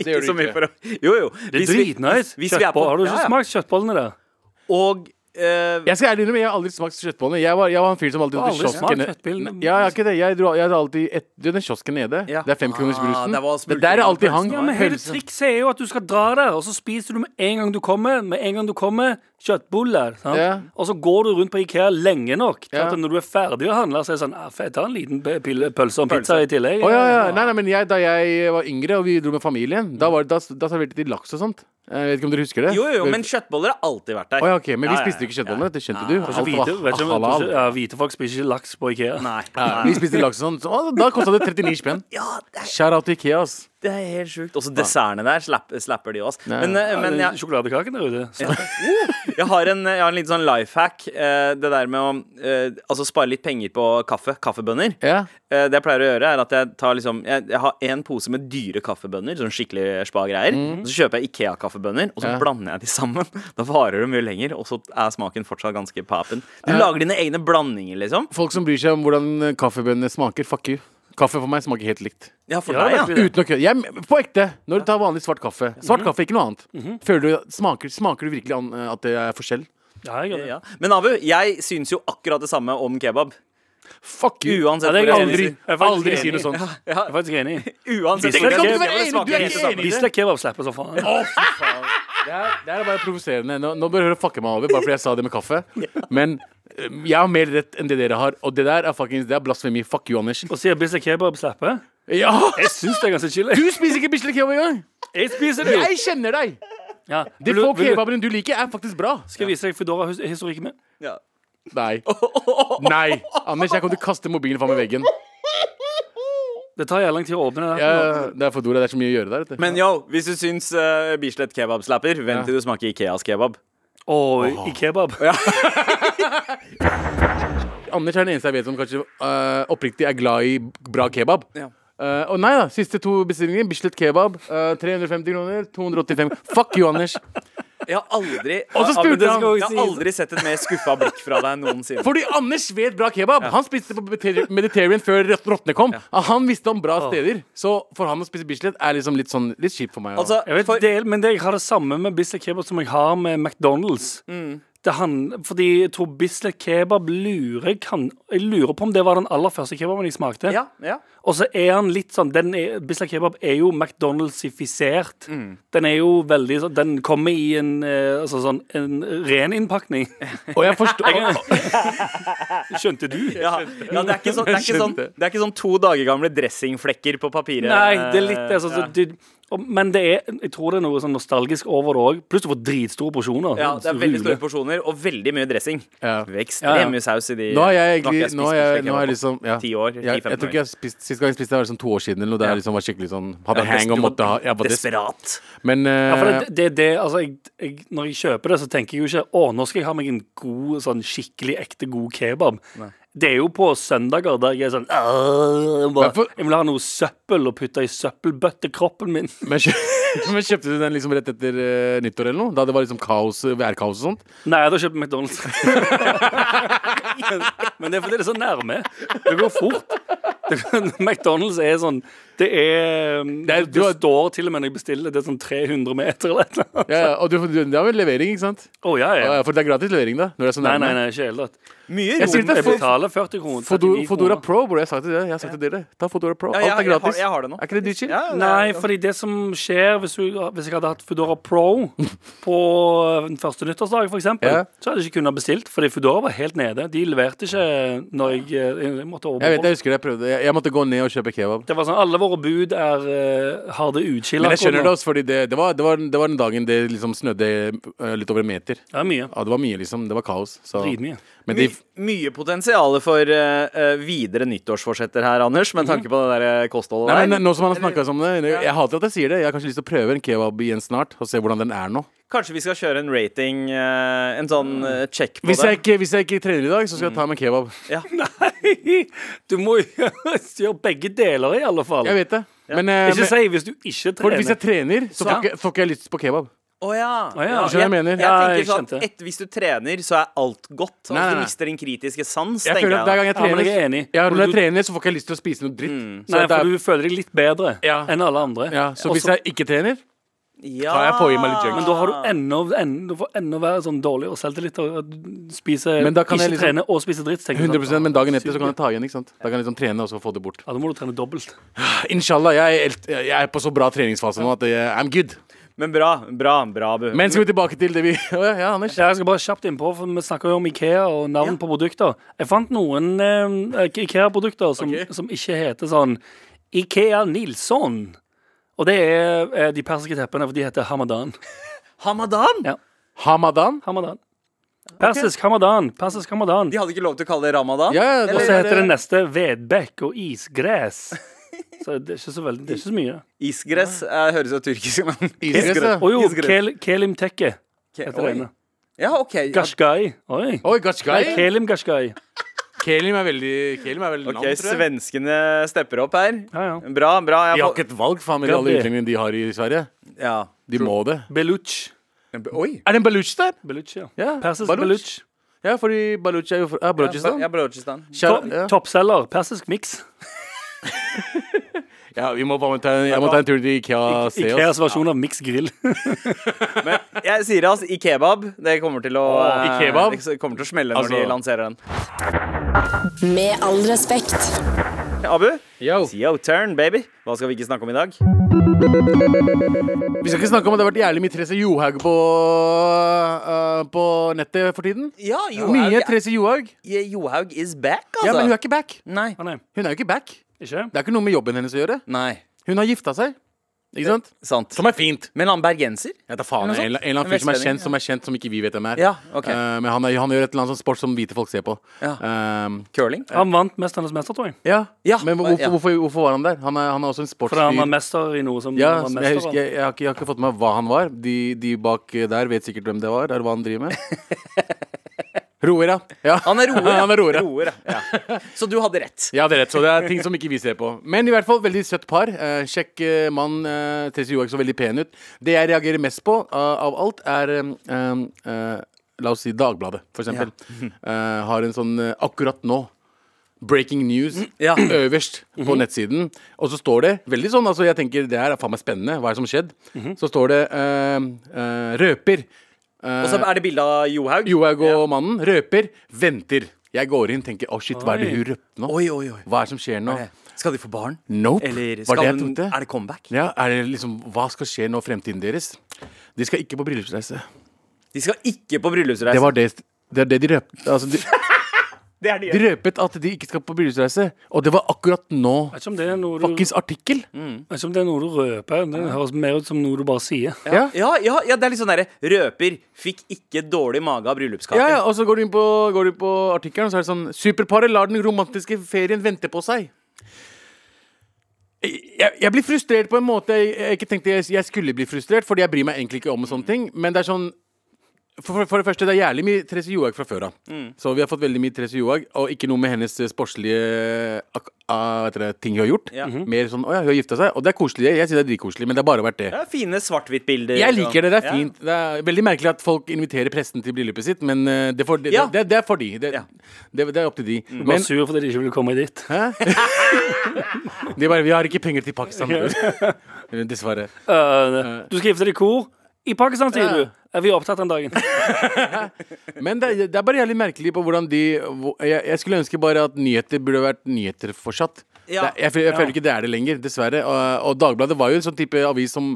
gjør Ikke du så mye ikke. for å Jo, jo. Det er dritnice. hvis vi er på- Kjøttboll- Har du Ja, ikke ja. smakt kjøttbollene der? Og eh, Jeg skal ærlig innrømme, jeg har aldri smakt kjøttbollene. Jeg var, jeg var en fyr som alltid Du har dro til aldri smakt kiosken ned- kjøttbollene? Nei, Ja, jeg har ikke det. Jeg dro, jeg dro alltid et, det er den kiosken nede. Ja. Det er fem kroners Ah, brusen. der var det der er alltid hang. smultringen. Ja, men Hele Pølse. trikset er jo at du skal dra der, og så spiser du med en gang du kommer. Med en gang du kommer, kjøttboller. Sant? Ja. Og så går du rundt på Ikea lenge nok til Ja. at når du er ferdig å handle, så er det sånn ah, fett, ta en liten p- pille, pølse og en pizza i tillegg. Å, ja, ja. Nei, nei, men jeg, da jeg var yngre og vi dro med familien, da, var, det- da, da serverte de laks og sånt. Eh, Jeg vet ikke om dere husker det? Jo, jo, jo, men kjøttboller har alltid vært der. Å ja, ok, Men Ja, vi ja, spiste ikke ja. kjøttbollene, det skjønte du. Så hvite, vet ikke, om- halal. ja, hvite folk spiser ikke laks på Ikea. [laughs] Nei. Vi spiste laks og sånn. Så, å, da kosta det 39 spenn. Ja, det er, Shout out til Ikea, ass. det er helt sjukt. Også dessertene der slapp, slapper de også. Men, eh, Ja, men den jeg, Sjokoladekaken der ute. Så. jeg, har en, jeg har en liten sånn life hack. det der med å eh, altså spare litt penger på kaffe. Kaffebønner. Ja. Eh, Det jeg pleier å gjøre, er at jeg tar liksom Jeg, jeg har én pose med dyre kaffebønner, sånn skikkelig spa-greier. Mm. Og Så kjøper jeg Ikea-kaffebønner, og så Ja. blander jeg de sammen. [laughs] Da varer det mye lenger, og så er smaken fortsatt ganske papen. Du lager dine egne blandinger, liksom. Folk som bryr seg om hvordan kaffebønnene smaker, fuck you. Kaffe for meg smaker helt likt. Ja, for Ja, Mhm. deg, ja. virkelig. Uten å kødde. Jeg- På ekte, når du tar vanlig svart kaffe Svart kaffe, ikke noe annet. Føler du, smaker, smaker du virkelig an, eh, at det er forskjell? Ja, jeg gjør det. Ja. Men Abu, jeg syns jo akkurat det samme om kebab. Fuck you! Uansett Ja, det er hvor jeg aldri- spiser. jeg er faktisk Aldri si enig. noe sånt. Jeg er faktisk enig. Uansett Det hvor jeg kan du ikke spiser, det være enig, smaker du er helt ikke det samme. enig. Bislett kebab slipper så faen. Å, fy faen. Det er, det er bare provoserende. Nå, nå bør dere fucke meg over bare fordi jeg sa det med kaffe. [laughs] Men eh, jeg har mer rett enn det dere har, og det der er fuckings Det er blasfemi. Fuck you, [laughs] Anders. Og sier Bislett kebab slipper? Ja! Jeg syns det er ganske chill. Du spiser ikke Bislett kebab engang! Jeg spiser det jo. Jeg kjenner deg! Ja. De Vil du- få vil du- kebabene du liker, er faktisk bra. Skal jeg vise deg Foodora-historikken min? Ja. [laughs] Nei. Nei. Anders, jeg kommer til å kaste mobilen faen meg veggen. Det tar jævlig lang tid å åpne den. her. Jeg, det er Fodora. Det er så mye å gjøre der. Vet du. Men yo, hvis du syns eh, Bislett kebab slapper, vent til du smaker Ikeas kebab. Og i kebab. Anders er den eneste jeg vet som kanskje eh, oppriktig er glad i bra kebab. Ja. Eh, og nei da, siste to bestillinger. Bislett kebab. eh, 350 kroner. 285. Fuck you, Anders. Jeg har aldri, [laughs] Og så Ja, men spurte det han- skal jeg si- har aldri sett et mer skuffa blikk fra deg noensinne. Fordi Anders vet bra kebab. Han spiste på Mediter- Mediterranean før rot- rottene kom. Han visste om bra steder. Så for han å spise Bislett er liksom litt sånn Litt kjipt for meg. Altså, Jeg vet, for, det, er- men det, jeg har det samme med Bislett kebab som jeg har med McDonald's. Mm. Det han, fordi jeg tror Bislett kebab lurer kan, Jeg lurer på om det var den aller første kebaben jeg smakte. ja, ja. Og så er han litt sånn den er, Bislett kebab er jo McDonald'sifisert. Mm. Den er jo veldig sånn Den kommer i en, eh, altså sånn, en ren innpakning. og jeg forstår [laughs] Skjønte du? Ja, ja, det, er ikke sånn, det, er ikke sånn, det er ikke sånn to dager gamle dressingflekker på papiret. Nei, det er litt det er sånn, Ja. så du, Og- Men det er, jeg tror det er noe sånn nostalgisk over det òg. Pluss du får dritstore porsjoner. Ja, det er veldig store Rule. porsjoner og veldig mye dressing. Ja. Ekstremt Ja, ja. mye saus i de Nå har jeg Nå har egentlig spist Nå har jeg, bisteker nå har jeg på liksom ja. 10 år, jeg, 10-15 jeg tror ikke jeg spiste Sist gang jeg spiste, det var sånn to år siden. Eller noe, der jeg liksom var skikkelig sånn Hadde Ja, hang og du var måtte ha Jeg var desperat. desperat. Men Ja, for eh, det, det, det, altså, jeg, jeg, når jeg kjøper det, så tenker jeg jo ikke Å, nå skal jeg ha meg en god, sånn skikkelig ekte god kebab. Det er jo på søndager der jeg er sånn «Åh», jeg bare, Hvorfor- Jeg vil ha noe søppel å putte i søppelbøttekroppen min. men, kjø- [laughs] men kjøpte du den liksom rett etter eh, nyttår eller noe? Da det var liksom kaos, eh, værkaos og sånt? Nei, da kjøper jeg McDonald's. Men det er fordi det er så nærme. Det går fort. Det, McDonald's er sånn Det er, um, det er- Du du har- står til og med når jeg bestiller, det er sånn 300 meter eller et eller annet. Ja, ja, og du, du, det var vel levering, ikke sant? Å, ja, ja. Ja, for det er gratis levering, da? Når det er så Nei, nærme. nei, nei, ikke i det hele tatt. Mye Jeg sier rom. det Jeg for- betaler 40 kroner. Fodo- 39 Fodora kroner. Pro, bror. Jeg sa det til dere. Jeg har sagt til dere. Ta Fodora Pro. Ja, ja, jeg Alt er har- gratis. jeg har det nå. Er ikke det dritchill? Ja, Nei, fordi det som skjer hvis, du, hvis jeg hadde hatt Foodora Pro på øh, den første nyttårsdag, for eksempel, Ja. så hadde jeg ikke kunnet bestilt, fordi Foodora var helt nede. De leverte ikke når jeg, øh, jeg Jeg vet, måtte overbeholde. jeg husker det. Jeg prøvde. Jeg, jeg måtte gå ned og kjøpe kebab. Det var sånn, Alle våre bud er eh, har det utskilla. Men jeg skjønner det også, fordi det, det, var, det, var, det var den dagen det liksom snødde eh, litt over en meter. Det er mye. Ja, det var mye, liksom. Det var kaos. Så. [laughs] Dritmye. Men de, My, mye potensial for eh, eh, videre nyttårsforsetter her, Anders, med tanke på det der eh, kostholdet Mhm. der. nei, men nå som han har snakka om det Jeg jeg hater at jeg sier det. Jeg har kanskje lyst til å prøve en kebab igjen snart og se hvordan den er nå. Kanskje vi skal kjøre en rating, eh, en sånn eh, check på Hvis det. Mm. jeg, ikke, hvis jeg ikke trener i dag, så skal jeg ta meg en kebab. Nei, du må [laughs] jo gjøre begge deler, i alle fall. Jeg vet det. Men, eh, Ikke men si hvis du ikke fordi hvis jeg trener, trener. så får Ja. ikke, får ikke jeg lyst på kebab. Å ja. Å ja. Skjønner du hva jeg mener? Jeg Ja, tenker jeg sånn, skjønte. et, Hvis du trener, så er alt godt. Og hvis Nei, nei, du nei. mister din kritiske sans, Jeg føler at tenker hver jeg. gang jeg Ja, men trener, jeg er enig. ja, når For jeg du- Mm. trener, så får ikke jeg lyst til å spise noe dritt. Så Nei, det er- for du føler deg litt bedre Ja. enn alle andre. ja, så Og hvis jeg ikke trener da. Ja. Kan jeg få i meg litt junk? Men da har du ennå, ennå, du får ennå være sånn dårligere selvtillit og og spise, Men da kan ikke jeg liksom- trene og spise dritt. så tenker du 100 sånn, men dagen etter så kan jeg ta igjen. ikke sant? Da kan jeg liksom trene og så få det bort. Ja, da må du trene dobbelt. Inshallah, jeg er, helt- jeg er på så bra treningsfase nå at jeg, I'm good. Men bra. Bra. bra Bu. Men skal vi tilbake til det vi [laughs] Å ja, ja, Anders. Jeg skal bare kjapt innpå, for Vi snakker jo om Ikea og navn på produkter. Jeg fant noen eh, Ikea-produkter som, Ok. som ikke heter sånn Ikea Nilsson. Og det er eh, de persiske teppene, for de heter hamadan. Hamadan? Hamadan? Hamadan. Persisk hamadan. Persisk hamadan. De hadde ikke lov til å kalle det ramadan? Ja, ja, Og det- så heter det neste vedbekk og isgress. [laughs] Så det er ikke så veldig, det er ikke så mye. Isgress eh, høres jo tyrkisk ut. Isgress, ja. Og jo, Isgress. kel, Kelim Tekke Ok, heter oi. det ene. Ja, OK. Ja, Gashgai. Oi. Oi, Nei, Gashkai. Kelim Gashgai. Kelim er veldig Kelim er veldig ok, navn, tror jeg. Svenskene stepper opp her. Ja, ja. Bra, bra. De Jeg har får... ikke et valg, faen, med alle Gabi. utlendingene de har i Sverige. ja. De må det. Beluch. Oi. Er det en baluch der? Beluch, ja. Ja, Persisk baluch. beluch. Ja, fordi baluch er jo fra ja, Baluchistan. Ja, Balochistan. Kjære- To- Toppselger. Persisk miks. Ja, vi må bare ta en, jeg må ta en tur til Ikea og se oss. Ikeas versjon av miks grill. [laughs] Men jeg sier altså i kebab. Det kommer til å, Åh, i eh, kebab? det kommer til å smelle når Altså- de lanserer den. Med all respekt. Abu, Yo. it's your turn, baby. Hva skal vi ikke snakke om i dag? Vi skal ikke snakke om at det har vært jævlig mye Therese Johaug på, øh, på nettet for tiden. Ja, Mye Therese Johaug. Johaug is back, altså. Ja, men hun er ikke back. Nei. Ah, nei. Hun er jo ikke back. Ikke? Det er ikke noe med jobben hennes å gjøre. Nei. Hun har gifta seg. Ikke sant? Sant. Som er fint. Men han bergenser? Jeg tar faen Eller noe sånt. En eller en eller annen fyr som er Vestlending, kjent, som er kjent, som ikke vi vet hvem er. Ja, ok. Eh, men han, er, han gjør et eller annet sånn sport som hvite folk ser på. Ja. Ehm, Curling? Han vant 'Mesternes mester', tror jeg. ja. Ja, Men hvorfor, ja. hvorfor, hvorfor var han der? Han er, han er også en sportsfyr. Fordi han var mester i noe som Ja, han som var jeg, mester husker, av. jeg, jeg, har ikke, jeg har ikke fått med meg hva han var. De, de bak eh, der vet sikkert hvem det var. Er det hva han driver med? Roer, ja. ja. Han er roer. [laughs] han er roer, ja. roer ja. Ja. Så du hadde rett. Ja, det er rett, så det er ting som ikke vi ser på. Men i hvert fall, veldig søtt par. Eh, kjekk eh, mann. Eh, Therese Johaug så veldig pen ut. Det jeg reagerer mest på eh, av alt, er eh, eh, La oss si Dagbladet, for eksempel. Eh, har en sånn eh, akkurat nå. Breaking news Ja. Mhm. øverst på nettsiden. Og så står det veldig sånn altså Jeg tenker det her er faen meg spennende. Hva er det som har skjedd? Mhm. Så står det eh, eh, røper. Eh, Og så er det bilde av Johaug. Johaug og mannen røper. Venter. Jeg går inn tenker å shit, hva er det hun røpte nå? Oi, oi, oi. Hva er det som skjer nå? Skal de få barn? Nope. Eller Var skal det jeg hun- tenkte? Er det comeback? Ja, er det liksom, hva skal skje nå, fremtiden deres? De skal ikke på bryllupsreise. De skal ikke på bryllupsreise. Det var det Det er det de røpte. Altså, de, [laughs] Det er det. Røpet at de ikke skal på bryllupsreise. Og det var akkurat nå. Vet ikke om det er noe du, Fuckings artikkel. Mm. vet ikke om det er noe du røper. Det høres mer ut som noe du bare sier. Ja. Ja, ja, ja, det er litt sånn derre Røper fikk ikke dårlig mage av bryllupskake. Ja, ja, og så går du inn på, går du inn på artikkelen, og så er det sånn Superparet lar den romantiske ferien vente på seg. Jeg, jeg blir frustrert på en måte jeg, jeg ikke tenkte jeg, jeg skulle bli frustrert, fordi jeg bryr meg egentlig ikke om sånne ting. Men det er sånn for, for, for det første, det er jævlig mye Therese Johaug fra før av. Så vi har fått veldig mye Therese Johaug, og ikke noe med hennes eh, sportslige ak ah, vet dere, ting hun har gjort. Ja. Mhm. Mer sånn 'Å ja, hun har gifta seg'. Og det er koselig, jeg, jeg syns det er dritkoselig, men det har bare vært det. Det er fine svart-hvitt-bilder. Jeg liker det, det er Ja. fint. Det er veldig merkelig at folk inviterer presten til bryllupet sitt, men eh, det, får- det, Ja. det, det er for de. Det, Ja. Mm. det, det er opp til de. Du var Men sur fordi de ikke ville komme [laughs] i ditt. de bare 'Vi har ikke penger til Pakistan'. [laughs] Dessverre. Eh, du skal gifte deg i kor. I Pakistan, sier Ja. du. Er vi opptatt den [laughs] dagen? Men det, er- det er bare jævlig merkelig på hvordan de hvor- jeg, jeg skulle ønske bare at nyheter burde vært nyheter fortsatt. Ja. Det, jeg føl- jeg føler ikke det er det lenger, dessverre. Og, og Dagbladet var jo en sånn type avis som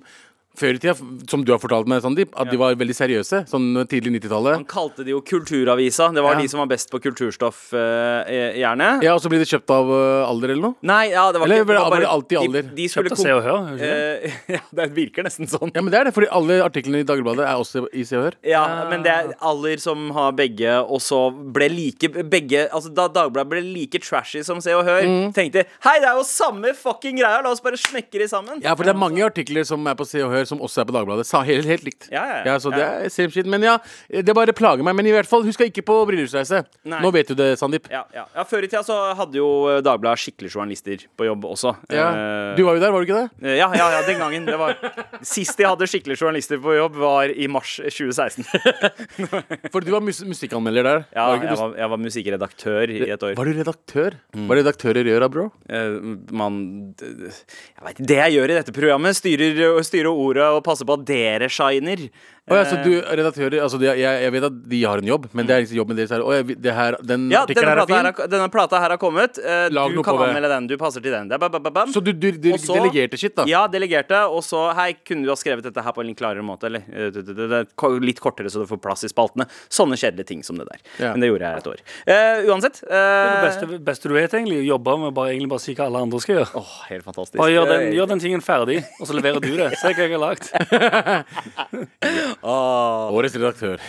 før i tida, som du har fortalt meg, Sandeep, at de var veldig seriøse. Sånn tidlig 90-tallet. Han kalte det jo Kulturavisa. Det var Ja. de som var best på kulturstoff, eh, gjerne. Ja, og så blir det kjøpt av eh, alder eller noe? Nei, ja, det var Eller ikke var det bare- alltid alder? De, de skulle Kjøpt av Se og Hør. er det ikke det? Eh, [laughs] ja, det virker nesten sånn. Ja, men det er det, fordi alle artiklene i Dagbladet er også i Se og Hør. Ja, men det er aller som har begge, og så ble like begge Altså Da Dagbladet ble like trashy som Se og Hør, Mm. tenkte Hei, det er jo samme fucking greia, la oss bare smekke de sammen. Ja, for det er mange artikler som er på Se og Hør, som også er på Dagbladet. Sa helt, helt likt. altså. Ja, ja, ja. så det Ja, ja. er same shit. Men ja, det bare plager meg. Men i hvert fall, hun skal ikke på bryllupsreise. Nei. Nå vet du det, Sandeep. Ja, ja. ja, Før i tida så hadde jo eh, Dagbladet skikkelig journalister på jobb også. Ja. Eh, Du var jo der, var du ikke det? ja, ja, ja, den gangen. Det var Sist de hadde skikkelig journalister på jobb, var i mars [laughs] 2016. For du var mus musikkanmelder der. Ja, var, du ikke jeg mus- var, jeg var musikkredaktør i et år. Mm. var du redaktør? Var du redaktør i Røra, bro? Eh, man d- d- Jeg vet, ikke, Det jeg gjør i dette programmet, styrer, styrer ordet og passer på at dere shiner. Å ja, så Eh. du er redaktør i- altså, de- jeg, jeg vet at de har en jobb, men det er liksom jobben deres her. Å, jeg, det her den Mm. Ja, artikkelen denne her er plata her, fin. har- denne plata her har kommet. Eh, Lag du noe kan på det. anmelde den. Du passer til den. Det er bam, bam, bam, bam. Så du, du, du Og så- delegerte shit, da? Ja, delegerte. Og så Hei, kunne du ha skrevet dette her på en litt klarere måte? Eller eh, det- det- det- ko- litt kortere, så du får plass i spaltene. Sånne kjedelige ting som det der. Ja. Men det gjorde jeg et år. Eh, uansett. Det eh, beste, beste du vet, egentlig, å jobbe med bare, egentlig bare si hva alle andre skal gjøre. Åh, helt fantastisk. Bare gjør den, gjør den tingen ferdig, og så leverer du det. Se hva jeg har lagd. Årets redaktør.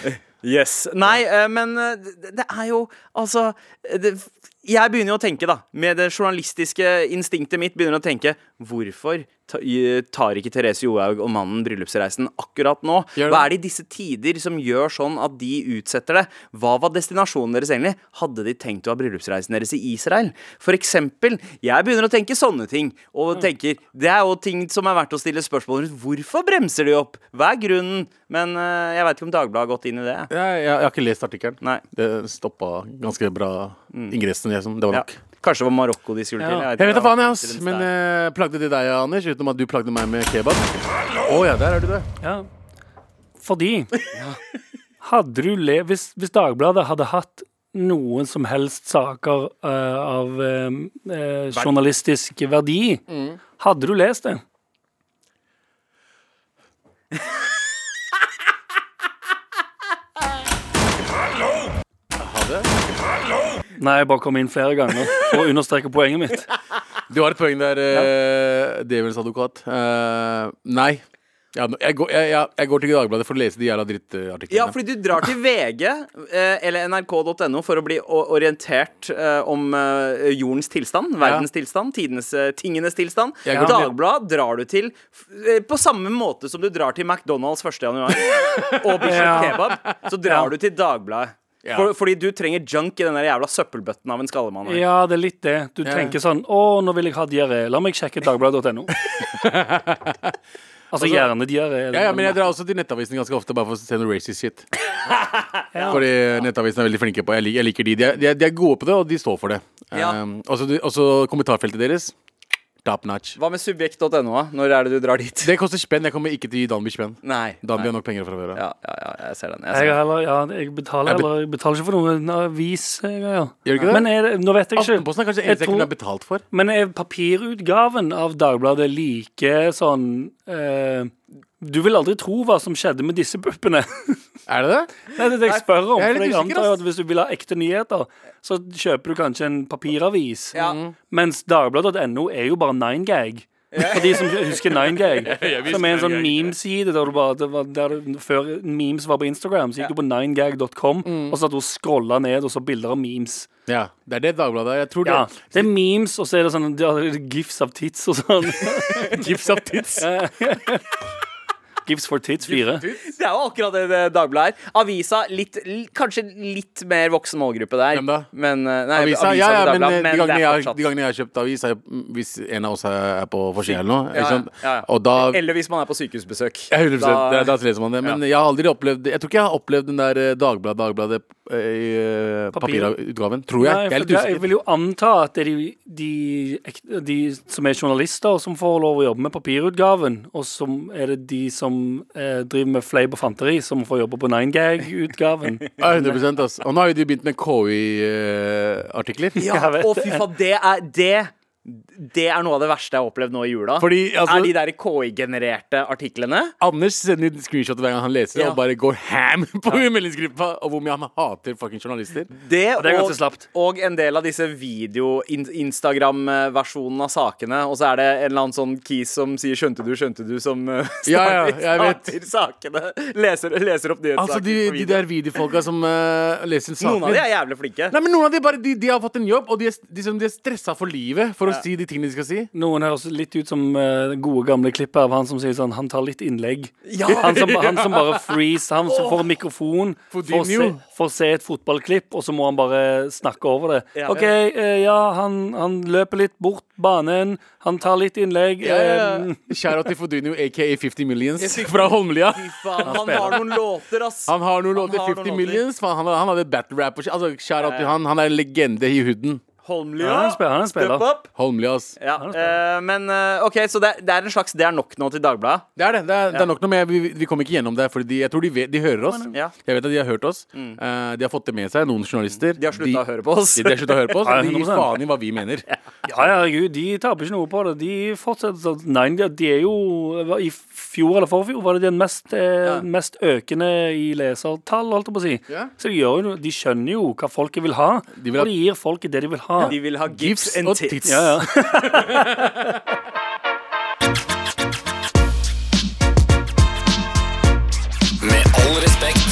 Yes. Nei, eh, men eh, det det er jo Altså eh, det, Jeg begynner jo å tenke, da. Med det journalistiske instinktet mitt begynner å tenke Hvorfor ta, eh, tar ikke Therese Johaug og mannen bryllupsreisen akkurat nå? Gjør det. Hva er det i disse tider som gjør sånn at de utsetter det? Hva var destinasjonen deres egentlig? Hadde de tenkt å ha bryllupsreisen deres i Israel? For eksempel. Jeg begynner å tenke sånne ting. Og Mm. tenker Det er jo ting som er verdt å stille spørsmål rundt. Hvorfor bremser de opp? Hva er grunnen? Men eh, jeg veit ikke om Dagbladet har gått inn i det. Ja, jeg, jeg har ikke lest artikkelen. Nei. Det stoppa ganske bra ingressen. Jeg, som- det var Ja. nok. Kanskje det var Marokko de skulle til. Ja. Jeg vet da hva faen, jeg, ass. konkurranse Men det er. eh, plagde de deg, Anders, utenom at du plagde meg med kebab? Å ja, der er du, det. Ja. Fordi Hadde du le... Hvis, hvis Dagbladet hadde hatt noen som helst saker eh, av eh, eh, journalistisk verdi, hadde du lest det? Nei, jeg bare kom inn flere ganger for å understreke poenget mitt. Du har et poeng der, eh, Devilens advokat. Eh, nei. Ja, nå- jeg, går, jeg, jeg, jeg går til Dagbladet for å lese de jævla drittartiklene. Ja, fordi du drar til VG eh, eller nrk.no for å bli o- orientert eh, om eh, jordens tilstand, verdens tilstand, tidenes, eh, tingenes tilstand. Jeg går til- Dagblad drar du til f- eh, på samme måte som du drar til McDonald's 1. [laughs] januar og Bishop Ja. Kebab. Så drar du til Dagbladet. Ja. For, fordi du trenger junk i den der jævla søppelbøtten av en skallemann. her. Ja, det er litt det. Du tenker sånn Å, nå vil jeg ha diaré. La meg [laughs] sjekke dagbladet.no. altså gjerne diaré. ja, ja, men jeg drar også til Nettavisen ganske ofte bare for å se noe [laughs] racist shit. Fordi Nettavisen er veldig flinke på Jeg liker, jeg liker de. De er, de, er, de er gode på det, og de står for det. Ja. Um, også, de- også kommentarfeltet deres. Top notch. Hva med subjekt.no? da? Når er det du drar dit? Det koster spenn. Jeg kommer ikke til å gi Danby spenn. Nei. Danby nei. har nok penger fra før av. Ja, ja, ja, jeg ser den. Jeg ser Jeg, den. har heller, ja, jeg, betaler, Jeg bet- heller, jeg betaler ikke for noen avisgreier. Gjør du ikke det? Men er det, nå vet jeg ikke. Aftenposten er kanskje det Jeg eneste jeg tror- kunne ha betalt for. Men er papirutgaven av Dagbladet like sånn eh, Du vil aldri tro hva som skjedde med disse puppene. [laughs] Er det det? Nei, det er det jeg spør om. jeg er For litt jeg usikker, antar jo ass. at Hvis du vil ha ekte nyheter, så kjøper du kanskje en papiravis. Ja. Mm. Mens dagbladet.no er jo bare 9gag. For de som husker 9gag, som er en sånn memeside der, du bare, det var, der du- før memes var på Instagram, så gikk du på 9gag.com, Mm. og så satt du og scrolla ned og så bilder av memes. Ja, det er det Dagbladet er. Jeg tror Ja, det. Det er memes, og så er det sånn det er gifs av tits og sånn. [laughs] Gifs av [laughs] tits. Gifs for tits 4. Det er jo akkurat det, det Dagbladet er. Avisa litt, l- kanskje litt mer voksen målgruppe der. Hvem da? Men, eh, nei, Avisa, ja, til ja, men, Dagbladet, eh, de, det gangene er jeg, har- fortsatt- de gangene jeg har kjøpt avis, er, hvis en av oss er på forsida eller noe, Ja, ikke ja, sant? ja, ja. og da Eller hvis man er på sykehusbesøk. Ja, 100 Da- da, da leser man det. Men jeg har aldri opplevd Jeg tror ikke jeg har opplevd den der eh, Dagbladet Dagbladet eh, i eh, Papir. papirutgaven. Tror jeg. Nei, jeg er for litt det- jeg usikker. vil jo anta at det er de, de, ek- de som er journalister, som får lov å jobbe med papirutgaven, og som er det de som eh, driver med fleip og fanteri, som får jobbe på 9gag-utgaven. [laughs] Ja, 100 ass. Og nå har jo du begynt med eh, KI-artikler. Ja, å fy faen, det er det det er noe av det verste jeg har opplevd nå i jula. Fordi, altså- er de der KI-genererte artiklene. Anders sender ut screenshot hver gang han leser det, Ja. og bare går ham [laughs] på meldingsgruppa og hvor mye han hater fucking journalister. Det, det er ganske og, slapt. og en del av disse video-Instagram-versjonene av sakene. Og så er det en eller annen sånn kis som sier 'skjønte du, skjønte du', som eh, [laughs] starter, Ja, ja, jeg vet. starter sakene. Leser, leser opp nyhetssaker. Altså de, på de video. der videofolka som eh, leser en sak Noen av de er jævlig flinke. Nei, men Noen av de, bare, de, de har fått en jobb, og de er, de, som- de er stressa for livet for å si de tingene de skal si. Noen høres litt ut som eh, det gode gamle klippet av han som sier sånn Han tar litt innlegg. Ja. [laughs] Han, som, han som [laughs] bare freeze, han som får mikrofon, får se, Fodinho. får se et fotballklipp, og så må han bare snakke over det. Ja. OK, eh, ja, han, han løper litt bort banen, han tar litt innlegg. eh, Kjære til Fodunio, aka 50 Millions fra Holmlia. Fy faen, han har noen låter, ass. Han har noen låter. har 50 noen låter. Millions. Faen, han, han hadde battle rap og shit. Altså, kjære til han. Han er en legende i hooden. Holmlia. Ja, han er en spiller, han er en Step spiller. up. Holmlia, ass. Ja, eh, men eh, OK, så det, det er en slags Det er nok nå til Dagbladet. Det er det. Det er, det er nok noe, men jeg, vi, vi kommer ikke gjennom det. Fordi de, jeg tror de, vet, de hører oss. Ja. Mm. Jeg vet at de har hørt oss. Eh, de har fått det med seg, noen journalister. De har sluttet å høre på oss. De, de har sluttet å høre på oss. Ja, og De gir 100%. faen i hva vi mener. Ja, herregud, de taper ikke noe på det. De fortsetter sånn. Nei, de, de er jo I fjor eller forfjor var det den mest, eh, mest økende i lesertall, holdt jeg på å si. Ja. Så de, gjør jo, noe- de skjønner jo hva folket vil ha, De vil ha- og de gir folket det de vil ha. [laughs] De vil ha Gifs gifs and og tits. tits. Ja, ja. Med all respekt.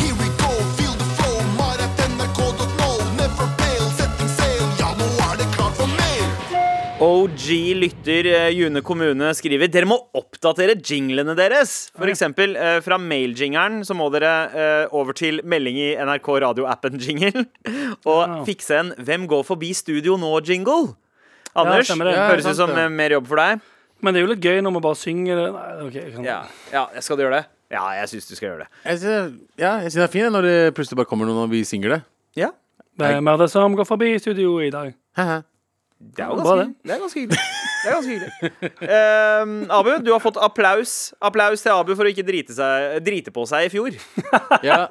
Here we go, feel the flow. Mar at nrk.no. Never fail, setting sail. Ja, nå er det klart for mer. OG lytter eh, June kommune skriver Dere må oppdatere jinglene deres. For eksempel eh, fra mailjingeren så må dere eh, over til melding i NRK radioappen-jingle. [laughs] Og fikse en 'Hvem går forbi studio nå?'-jingle. Anders, stemmer det. høres Ja, ut som sant det. eh, mer jobb for deg. Men det er jo litt gøy når vi bare synger det. Nei, ok, jeg kan... Ja, ja, skal du gjøre det? Ja, jeg syns du skal gjøre det. Jeg synes, ja, jeg synes det er fint når det plutselig bare kommer noen og vi synger det. Ja, Hvem er det som går forbi studio i dag? Haha. Det er jo Bra, ganske, det. det er ganske hyggelig. Det er ganske hyggelig. [laughs] Eh, Abu, du har fått applaus. Applaus til Abu for å ikke drite, seg, drite på seg i fjor. [laughs] Ja.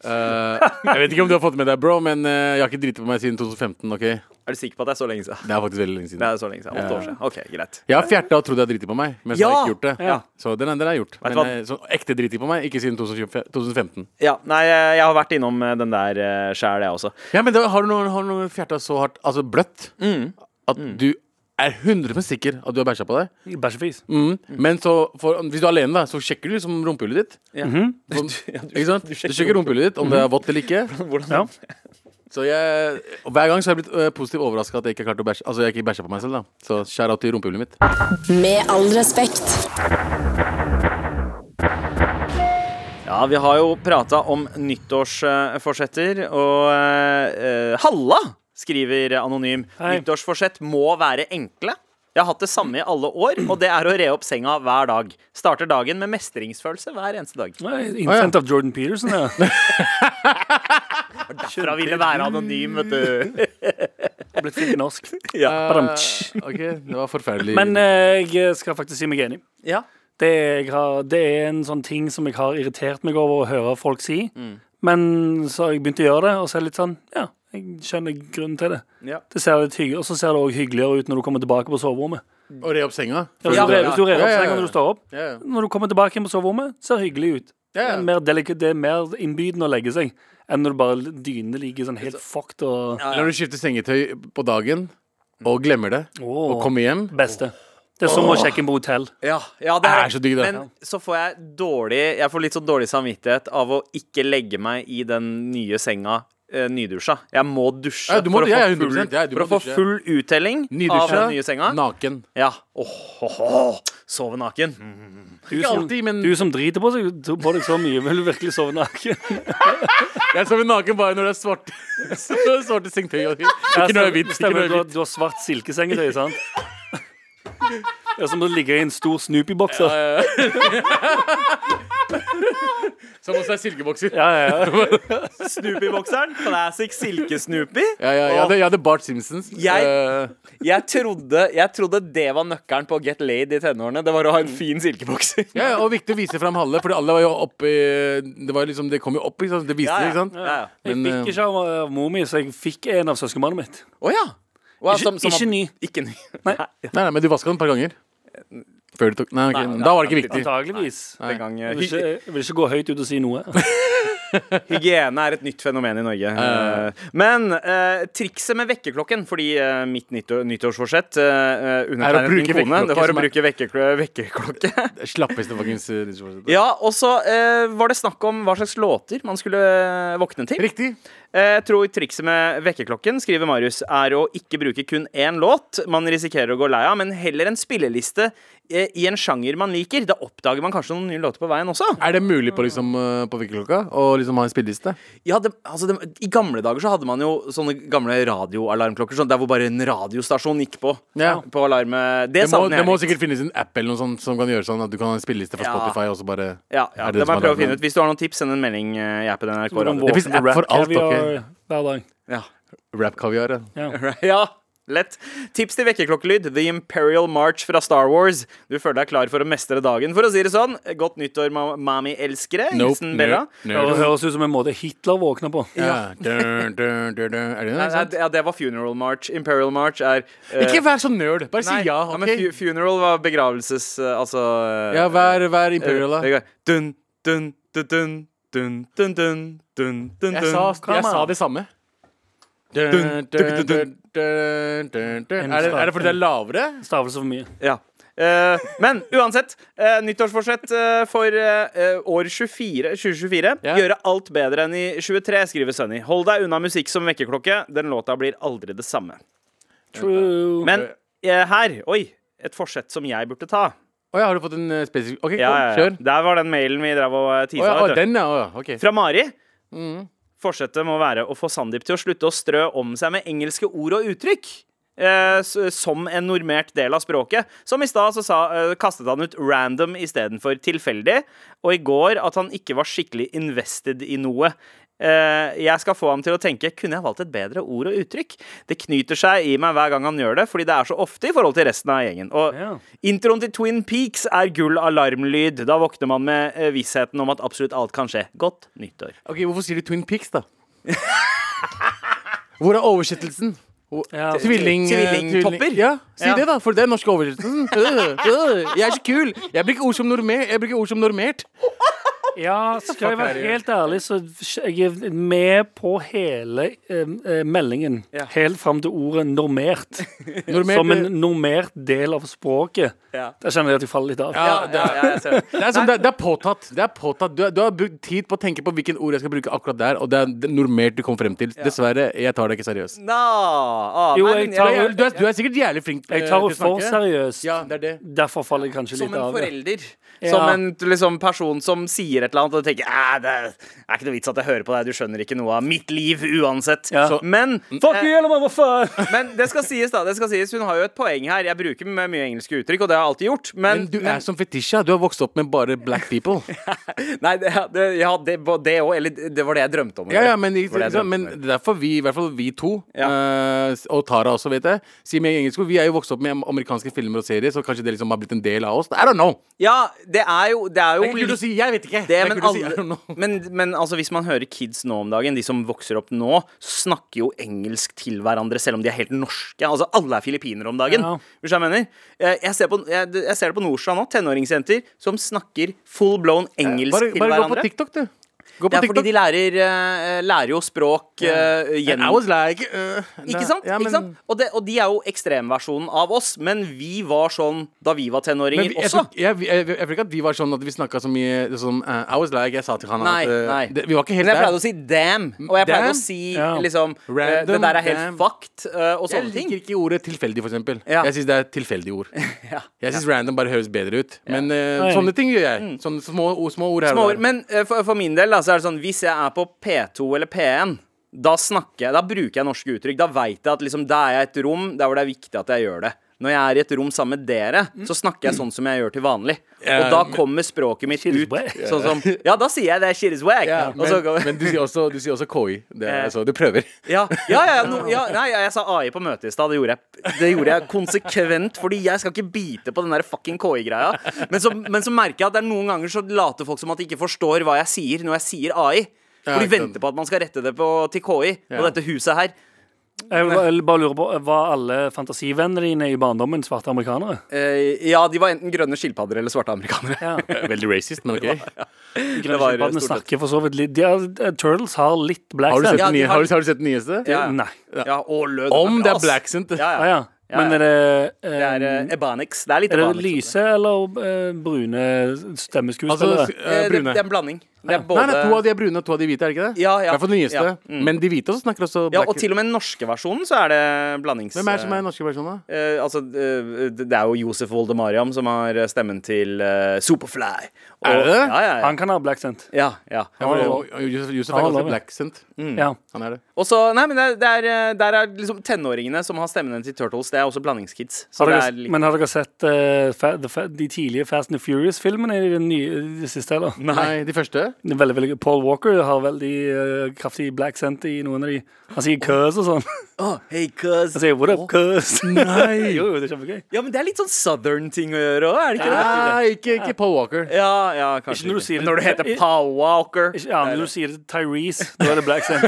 Eh, jeg vet ikke om du har fått med deg, bro, men eh, jeg har ikke driti på meg siden 2015. ok? Det Er du sikker på at det er så lenge siden? er faktisk veldig lenge Det siden. er så lenge siden. Åtte år siden. Ok, greit. Jeg har fjerta og trodd jeg har driti på meg, men så har jeg Ja! ikke gjort det. Ja. Så den den er gjort. du Men eh, sånn ekte driti på meg, ikke siden 2015. Ja, nei, jeg jeg har vært innom eh, den der eh, sjæl, jeg også. Ja, men da, har du noen, har du noen fjerta så hardt, altså bløtt, Mm. at du er 100 sikker at du har bæsja på deg? Bæsjefis. Mm. Men så, for, hvis du er alene, da, så sjekker du liksom rumpehullet ditt. Mhm. Sånn, ikke sant? Du sjekker, rumpehullet ditt, om det er vått eller ikke. Ja. Så jeg, og hver gang så har jeg blitt øh, positivt overraska at jeg ikke har klart å bæsje. Altså, jeg ikke bæsja på meg selv, da. Så skjær av til rumpehullet mitt. Med all respekt. Ja, vi har jo prata om nyttårsforsetter, og eh, eh, Halla skriver Anonym. Hei. Nyttårsforsett må være enkle. Jeg har hatt det samme i alle år, og det er å re opp senga hver dag. Starter dagen med mestringsfølelse hver eneste dag. Nei, Innsendt av Jordan [laughs] Peterson, ja. Fra ville være anonym, vet [laughs] du. Har blitt flink i norsk. Eh, Badamtsch. ok, det var forferdelig. Men eh, jeg skal faktisk si meg enig. Ja. Det, jeg har, det er en sånn ting som jeg har irritert meg over å høre folk si. Mm. Men så har jeg begynt å gjøre det, og så er det litt sånn Ja, jeg skjønner grunnen til det. Ja. Det ser litt hyggelig, Og så ser det også hyggeligere ut når du kommer tilbake på soverommet. Å re opp senga? Ja, hvis Ja, du re- ja. hvis du rer Ja, opp ja, ja. senga når du står opp, Ja, ja. når du kommer tilbake hjem på soverommet, ser det hyggelig ut. Ja, Det ja. er mer, delika- det er mer innbydende å legge seg enn når du bare dynene ligger sånn helt fucked og Når du skifter sengetøy på dagen og glemmer det, Åh. og kommer hjem Beste. Det er som å sjekke inn på hotell. Ja, ja det Det er er så digg, det. Men så får jeg dårlig Jeg får litt sånn dårlig samvittighet av å ikke legge meg i den nye senga eh, nydusja. Jeg må dusje Ja, du må- for å ja, ja, få full, 100%, ja, du for å må få dusje. full uttelling av Nydusja, den nye senga. naken. Ja. Åh, åh, åh. Sove naken. Du Ikke som, alltid, men du som driter på, seg, på deg så mye, vil du virkelig sove naken? jeg sover naken bare når det er svart. [laughs] svarte sengetøy. og- Ikke når det er hvitt. Ikke Stemmer, når det du, er har, hvitt. du har svart silkesengetøy, sant? Det er som å ligge i en stor Snoopy-boks. da. Som også er silkebokser. Ja, ja, ja. Snoopy-bokseren. Classic silke-Snoopy. Ja, ja, jeg, hadde, jeg hadde Bart Simpsons. Jeg- Eh, Jeg, trodde, jeg trodde det var nøkkelen på å get laid i tenårene. Det var å ha en fin silkebokser. ja, ja, og viktig å vise fram halve, for alle var jo oppe i- Det, var liksom, det kom jo opp, ikke sant? Det viste det, ikke sant? Ja, ja. Jeg Men, eh, fikk ikke av av mor mi, så jeg fikk en av søskenbarnet mitt. Å ja. Wow, Ikke, ikke ny. Ikke ny. Nei. Nei, nei, men du vaska den et par ganger. Før du tok Nei, ok, Nei, nei, da var det ikke nei, viktig. Antageligvis. Den gang, eh, Jeg vil, ikke, jeg vil ikke gå høyt ut og si noe. Hygiene er et nytt fenomen i Norge. Eh, Men eh, trikset med vekkerklokken, fordi eh, mitt nyttår, nyttårsforsett eh, eh, Er å undertegnet bruke min kone, det vekkerklokke var å som er- bruke vekkerklo [laughs] vekkerklokke. Slappeste fuckings eh, diskusjon. ja, og så eh, var det snakk om hva slags låter man skulle eh, våkne til. Riktig. Eh, Jeg tror trikset med vekkerklokken, skriver Marius, er å ikke bruke kun én låt man risikerer å gå lei av, men heller en spilleliste eh, i en sjanger man liker. Da oppdager man kanskje noen nye låter på veien også. Er det mulig på, liksom, eh, på vekkerklokka å liksom ha en spilleliste? Ja, det, altså det, I gamle dager så hadde man jo sånne gamle radioalarmklokker. Sånn, der hvor bare en radiostasjon gikk på. Ja. På alarm. Det, Det må, savner det jeg må litt. sikkert finnes en app eller noe sånt som kan gjøre sånn at du kan ha en spilleliste fra Ja. Spotify, og så bare Ja, ja, er det må som jeg er prøve å finne radioen. ut. Hvis du har noen tips, send en melding. eh, Jeg er på NRK Radio. Det finnes app for alt, ok. hver dag. Ja. [laughs] Rap-kaviar. ja. ja, lett. Tips til vekkerklokkelyd. The Imperial March fra Star Wars. Du føler deg klar for å mestre dagen, for å si det sånn. Godt nyttår, ma mami-elskere. Nope, Hilsen nerd, Bella. Det nerd. høres ut som en måte Hitler våkna på. Ja. Dun, dun, dun, dun. Er det noe Nei, nei, sant? ja, det var Funeral March. Imperial March er eh, Ikke vær så nerd. Bare si nei, ja, men fu- OK? Funeral var begravelses... eh, Altså eh, Ja, vær, vær imperial, da. Det går dun, dun, dun, dun, dun, dun, dun, dun, dun, Jeg sa, dun. jeg sa det samme. Dun, Dun, dun, dun, dun, dun, dun, dun. Er det, er det fordi det er lavere? Stavelse for mye. Ja. Eh, men uansett, eh, nyttårsforsett eh, for eh, eh, år 24, 2024. Ja. Gjøre alt bedre enn i 23, skriver Sunny. Hold deg unna musikk som vekkerklokke. Den låta blir aldri det samme. True. Men eh, her Oi! Et forsett som jeg burde ta. Å ja, har du fått en eh, spesifikk OK, Ja, ja, kom, ja. kjør. Der var den mailen vi drev og eh, Å tisa. ja, å, vet du. den, ja. å, ja. OK. Fra Mari. Forsettet må være å få Sandeep til å slutte å strø om seg med engelske ord og uttrykk. Eh, s- som en normert del av språket. Som i stad så sa, eh, kastet han ut random istedenfor tilfeldig. Og i går at han ikke var skikkelig invested i noe. Eh, jeg skal få ham til å tenke kunne jeg valgt et bedre ord og uttrykk. Det knyter seg i meg hver gang han gjør det, fordi det er så ofte i forhold til resten av gjengen. Og Ja. Introen til Twin Peaks er gull alarmlyd. Da våkner man med eh, vissheten om at absolutt alt kan skje. Godt nyttår. Ok, Hvorfor sier de Twin Peaks, da? Hvor er oversettelsen? Hvor- Ja. Tvilling, eh, Tvillingtopper? tvilling- Ja, si Ja. det, da. For det er norske oversettelsen. Øh, øh, jeg er så kul! Jeg bruker ord som, normer, jeg bruker ord som normert. Ja, skal jeg være helt ærlig, så jeg er med på hele eh, eh, meldingen. Helt fram til ordet [laughs] 'normert'. normert Som eh, en normert del av språket. Ja. Der kjenner jeg at jeg faller litt av. ja, det, er, jeg ser det. det, er som, det, er, det er påtatt. Det er påtatt. Du, er- du har brukt tid på å tenke på hvilken ord jeg skal bruke akkurat der, og det er det normert du kom frem til. Dessverre, jeg tar deg ikke seriøst. Nå, ah, Jo, nei, men jeg tar- jeg- Du, er- du er sikkert jævlig flink eh, Jeg tar til det å for snakke. seriøst. Ja, det er det. Derfor faller jeg kanskje Som litt en av. forelder. Ja. Som en liksom, person som sier et eller annet og tenker «Æ, det er ikke noe vits at jeg hører på deg, du skjønner ikke noe av mitt liv uansett. Ja. Så- Men, Mm. Fuck eh, you, eller hva faen? men det skal sies, da. Det skal sies. Hun har jo et poeng her. Jeg bruker m- mye engelske uttrykk, og det har jeg alltid gjort. Men, [laughs] Men du er som Fetisha. Du har vokst opp med bare black people. Nei, det, det, ja, det, det òg. Eller det var det jeg drømte om. Ja, ja, men, ikke, Var det jeg sant, drømte men om. det er derfor vi, i hvert fall vi to, Ja. eh, s- og Tara også, vet jeg Sier med engelsk, vi er jo vokst opp med amerikanske filmer og serier, så kanskje det liksom har blitt en del av oss. I don't know. Ja, det er jo, det er jo Det er ikke kult å si. Jeg vet ikke. det, men, kunne si, I alle, don't [laughs] know. men, men altså, hvis man hører kids nå om dagen, de som vokser opp nå, snakker jo engelsk til hverandre selv om de er helt norske. Altså, alle er filippinere om dagen. Ja. Hvis jeg mener. Eh, Jeg ser, på, jeg, jeg ser det på Nordstrand nå, tenåringsjenter som snakker full blown engelsk Eh, Bare, til bare gå på hverandre. TikTok, du. Gå på Det er TikTok. fordi de lærer, eh, lærer jo språk eh, And I gjennom was like uh, Ikke sant? Ja, men- ikke sant? Og, det, og de er jo ekstremversjonen av oss, men vi var sånn da vi var Men tenåringer vi, jeg, også. tror, jeg, jeg, jeg, jeg tror ikke at vi var sånn at vi snakka så mye sånn eh, I was like, jeg sa til han Nei, at eh, nei. Det, Vi var ikke helt Men jeg der. pleide å si 'damn', og jeg pleide Damn? å si Ja. liksom eh, Random, 'Det der er helt damn. fucked', eh, og Jeg sånne ting. liker ikke ordet tilfeldig, for eksempel. Ja. Jeg syns det er et tilfeldig [laughs] ord. Ja. Mm. Jeg syns random bare høres bedre ut. Men eh, Nei. sånne ting gjør jeg. Sånne små, ord- små ord her Små og ord. der. Men eh, for, for min del da, så er det sånn hvis jeg er på P2 eller P1 da snakker jeg, da bruker jeg norske uttrykk. Da veit jeg at liksom, da er jeg i et rom der hvor det er viktig at jeg gjør det. Når jeg er i et rom sammen med dere, så snakker jeg sånn som jeg gjør til vanlig. Og da kommer språket mitt Shit is ut whack. sånn som Ja, da sier jeg det er shit is whack. Ja, og så men, kommer, men du sier også, du sier også KI. Det Eh. er, altså, du [laughs] prøver. ja, ja, ja, no, ja, nei, jeg sa AI på møtet i stad. Det, gjorde jeg- det gjorde jeg konsekvent, fordi jeg skal ikke bite på den der fucking KI-greia. Men, så- men så merker jeg at det er noen ganger så later folk som at de ikke forstår hva jeg sier når jeg sier AI. Ja, For de ikke sant. venter på at man skal rette det på, til KI på Ja. dette huset her. [laughs] Jeg vil bare- bare lurer på, Var alle fantasivennene dine i barndommen svarte amerikanere? Eh, ja, de var enten grønne skilpadder eller svarte amerikanere. Ja. [laughs] Veldig racist, men ok. Det var Barna stort sett- snakker for så vidt litt de har, eh, Turtles har litt black Har du sett, scent. Ja, de den nye, har- har du, har du sett den nyeste? Ja, ja. Nei. Ja, og lød. Om det er ass. blacksent. Ja, Ah, ja. ja. Men ja. er det, eh, Det er eh, Ebanics. Det er litt sånn, er det Ebanics. lyse eller eh, brune Altså stemmeskuespillere? Eh, eh, det, brune. det er en blanding. Det er både Nei, nei, to av de er brune, og to av de hvite, er det ikke det? Ja, ja. I hvert fall den nyeste. Ja, mm. Men de hvite også snakker også Ja, black. og til og med den norske versjonen så er det blandings... Hvem er det som er den norske versjonen, da? Eh, altså, eh, det det er jo Josef Voldemariam som har eh, stemmen til eh, Superfly. Og, Er det det? Ja, ja, ja. Han kan ha black scent. ja, ja. Ja, for det- Josef Josef er Ah, ganske lov, ja. blacksent. Mm. Ja. Han er det. Og så, nei, men det er, det er, eh, Der er liksom tenåringene som har stemmene til Turtles, det er også blandingskids. Så Har det dere, er litt Men har dere sett eh, fa the fa de tidlige Fast and Furious-filmene i den nye, de siste, eller? Nei. de første? Det er Veldig, veldig, Paul Walker har veldig eh, kraftig black scent i noen av de. Han sier 'cuz' og sånn. [laughs] Åh, hey, cuz. Han sier 'what up, cuz'? Nei! [laughs] jo, jo, det er kjempegøy. Ja, men det er litt sånn southern ting å gjøre òg, er det ikke det? Nei, ikke, ikke Paul Walker. Ja, ja, kanskje Ikke når du sier- Men når du heter Pow Walker. Ikke, ja, når du sier Tyrese, da er det black [laughs] scent.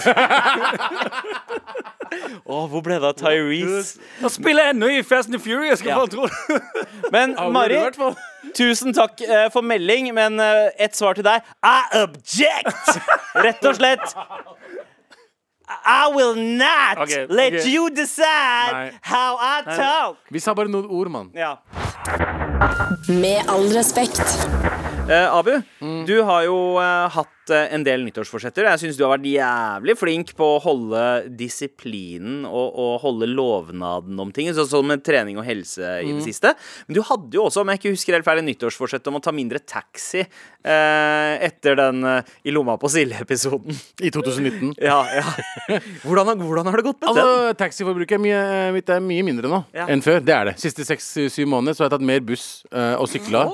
Åh, hvor ble det av Tyrese? Nå spiller jeg ennå i Fast and Furious! Hva faen tror du? Men Mari, tusen takk eh, for melding, men eh, ett svar til deg. I object! Rett og slett. I will not Ok, let ok. you decide Nei. how I talk. Vi sa bare noen ord, mann. Ja. Med all respekt. Eh, Abu, Mm. du har jo eh, hatt eh, en del nyttårsforsetter. Jeg syns du har vært jævlig flink på å holde disiplinen og, og holde lovnaden om ting, sånn som med trening og helse i Mm. det siste. Men du hadde jo også, om jeg ikke husker helt feil, en nyttårsforsett om å ta mindre taxi eh, etter den eh, I lomma på Silje-episoden. I 2019. Ja, ja. [laughs] Hvordan, har- hvordan har det gått med den? Altså, Taxiforbruket er mye, eh, mitt er mye mindre nå Ja. enn før. Det er det. Siste seks-syv måneder så har jeg tatt mer buss eh, og sykla.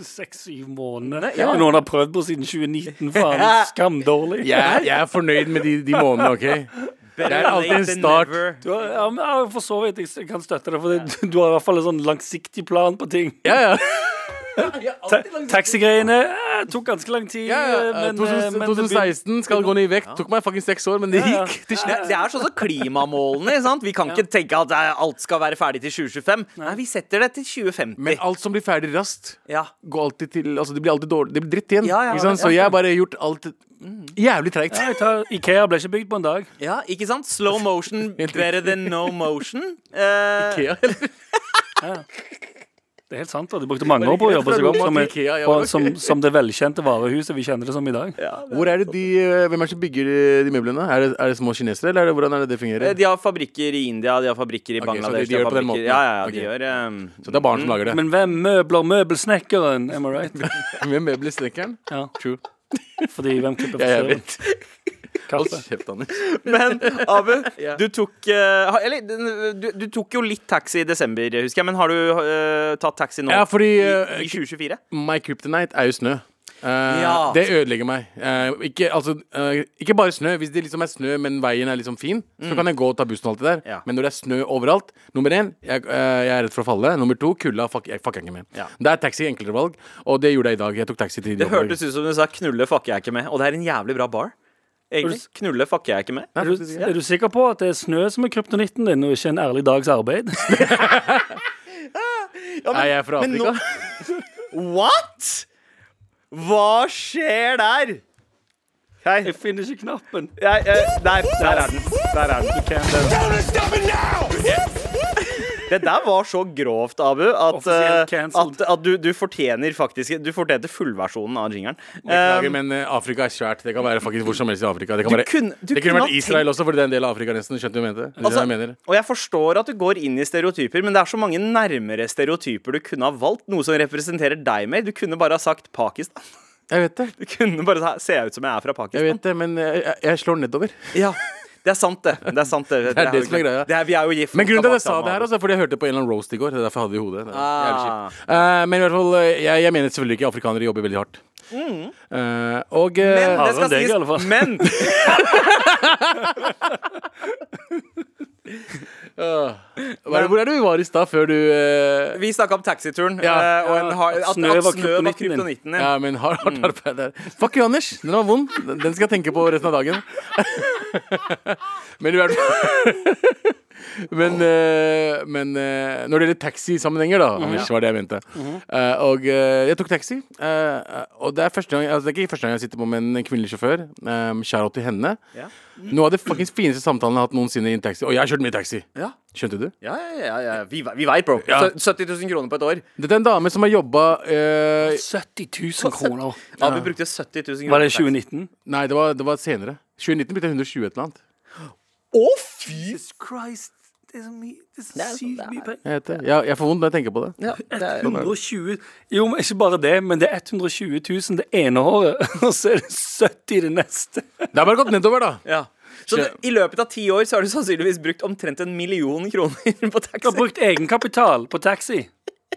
Seks-syv måneder. Noen har prøvd på siden 2019, faen. Skamdårlig. Jeg, jeg er fornøyd med de, de månedene, OK? Det er alltid en start. Du har, ja, men jeg for så vidt jeg kan støtte deg, for det, du har i hvert fall en sånn langsiktig plan på ting. Ja, ja. Ta Taxigreiene eh, tok ganske lang tid, ja, ja. eh, men, eh, men det begyn- 2016 skal gå ned i vekt. Tok meg fucking seks år, men det Ja, ja. gikk til Det, slutt. det er sånn som klimamålene. ikke Sant? Vi kan ikke tenke at eh, alt skal være ferdig til 2025. Nei, vi setter det til 2050. Men alt som blir ferdig raskt, ja. går alltid til Altså, det blir alltid dårlig. Det blir dritt igjen. Ja, ja, ikke sant? ja. Så jeg har bare gjort alt jævlig treigt. Ja, jeg tar, Ikea ble ikke bygd på en dag. Ja, ikke sant? Slow [laughs] motion better than no motion. Eh, Ikea, eller? Det er helt sant, da. De brukte mange år på å jobbe seg opp som, et- Ikea, ja, på- ok. som, som det velkjente varehuset vi kjenner det som i dag. Hvor er det de, eh, Hvem er det som bygger eh, de møblene? Er det, er det små kinesere, eller er det, hvordan er det det fungerer? Eh, de har fabrikker i India, de har fabrikker i Ok, så de- Bangladesh. de gjør det på den fabrikker- måten, Ja, ja. ja, ja, de Ok. gjør ehm, Så det er barn som lager det. Mm, Men hvem møbler møbelsnekkeren? Am I [laughs] right? Med møbelsnekkeren? Ja, True. fordi hvem klipper Ja, jeg frisøren? vet. Kaffe. Kjeft, Anders. [laughs] Men [laughs] Abu, du tok eh, ha- Eller, du, du tok jo litt taxi i desember, husker jeg, men har du eh, tatt taxi nå? Ja, fordi I, eh, I 2024? My kryptonite er jo snø. Eh, Ja. Det ødelegger meg. Eh, ikke, altså, eh, ikke bare snø. Hvis det liksom er snø, men veien er liksom fin, så kan jeg gå og ta bussen og alt det der. Mm. Ja. Men når det er snø overalt Nummer én, jeg, eh, jeg er redd for å falle. Nummer to, kulda fuck, jeg fucker jeg ikke med. Ja. Det er taxi enklere valg, og det gjorde jeg i dag. Jeg tok taxi til Det hørtes ut som du sa 'knulle fucker jeg ikke med', og det er en jævlig bra bar. Egentlig. Knulle fucker jeg ikke med. Er du, er du sikker på at det er snø som er kryptonitten din, og ikke en ærlig dags [laughs] arbeid? Nei, jeg er fra men nå- Afrika. What?! Hva skjer der? Hei. Jeg finner ikke knappen. Nei, eh, nei, der er den. Der er den. Det der var så grovt, Abu, at, Offisielt eh, cancelled. at, at du, du fortjener faktisk Du fortjente fullversjonen av jingeren. [laughs] Beklager, Eh, men eh, Afrika er svært. Det kan være faktisk hvor som helst i Afrika. Det kan, være, kunne- du det kunne kunne ha vært Israel også, for det er en del av Afrika nesten. Skjønte du hva jeg mente? Skjønner du hva jeg altså, mener? og jeg forstår at du går inn i stereotyper, men det er så mange nærmere stereotyper du kunne ha valgt. Noe som representerer deg mer. Du kunne bare ha sagt Pakistan. [laughs] Jeg vet det. Du kunne bare sa- se ut som jeg er fra Pakistan. Jeg vet det, men eh, jeg, jeg- jeg slår nedover. Ja, det er sant, det. Det er sant, [laughs] det. Det er det jo som er ikke- greia. Det er, vi er jo gift. Men grunnen til at jeg sa Tabak- det her, altså, er fordi jeg hørte på en eller annen roast i går. Det er derfor jeg hadde det i hodet. Det er jævlig Ah. kjipt. Eh, men i hvert fall, eh, jeg, jeg mener selvfølgelig ikke afrikanere jobber veldig hardt. Eh, og eh, Mm. Men det skal Hardere enn deg, i alle sies. fall. Men hva er det- hvor er det vi var i stad før du eh, vi snakka om taxituren. Ja. eh, og en hard, at, Snø at snø var var kryptonitten din. kryptonitten din. Mm. Ja, men har hardt arbeid der. Fuck you, Anders. Den var vond. Den- Den skal jeg tenke på resten [laughs] av dagen. men i hvert fall Men, eh, men eh, når det gjelder Mhm. taxisammenhenger, da, Anders, var det jeg mente. Eh, og eh, jeg tok taxi. eh, og det er, første gang, altså, det er ikke første gang jeg sitter på med en kvinnelig sjåfør. Um, Shout out til henne. Ja. Noe av det fuckings fineste samtalen jeg har hatt noensinne i en taxi. Og jeg har kjørt mye taxi. Ja. Skjønte du? Ja, ja, ja, ja. Vi, vi veit, bro. Ja. Sø- 70 000 kroner på et år. Dette er en dame som har jobba eh, 70 000 kroner. Abu brukte 70 000 kroner. Var på det taxi. 2019? Nei, det var, det var senere. 2019 ble det 120 et eller annet. Å, fy! Christ, det er så mye Det er så sykt mye penger. Jeg, vet det. jeg, jeg får vondt når jeg tenker på det. Ja, det er, 120 Jo, men ikke bare det, men det er 120 000 det ene året, [laughs] og så er det 70 det neste. Det har bare gått nedover, da. ja. Så du, i løpet av ti år så har du sannsynligvis brukt omtrent en million [laughs] kroner på Du har taxi. brukt egenkapital på taxi.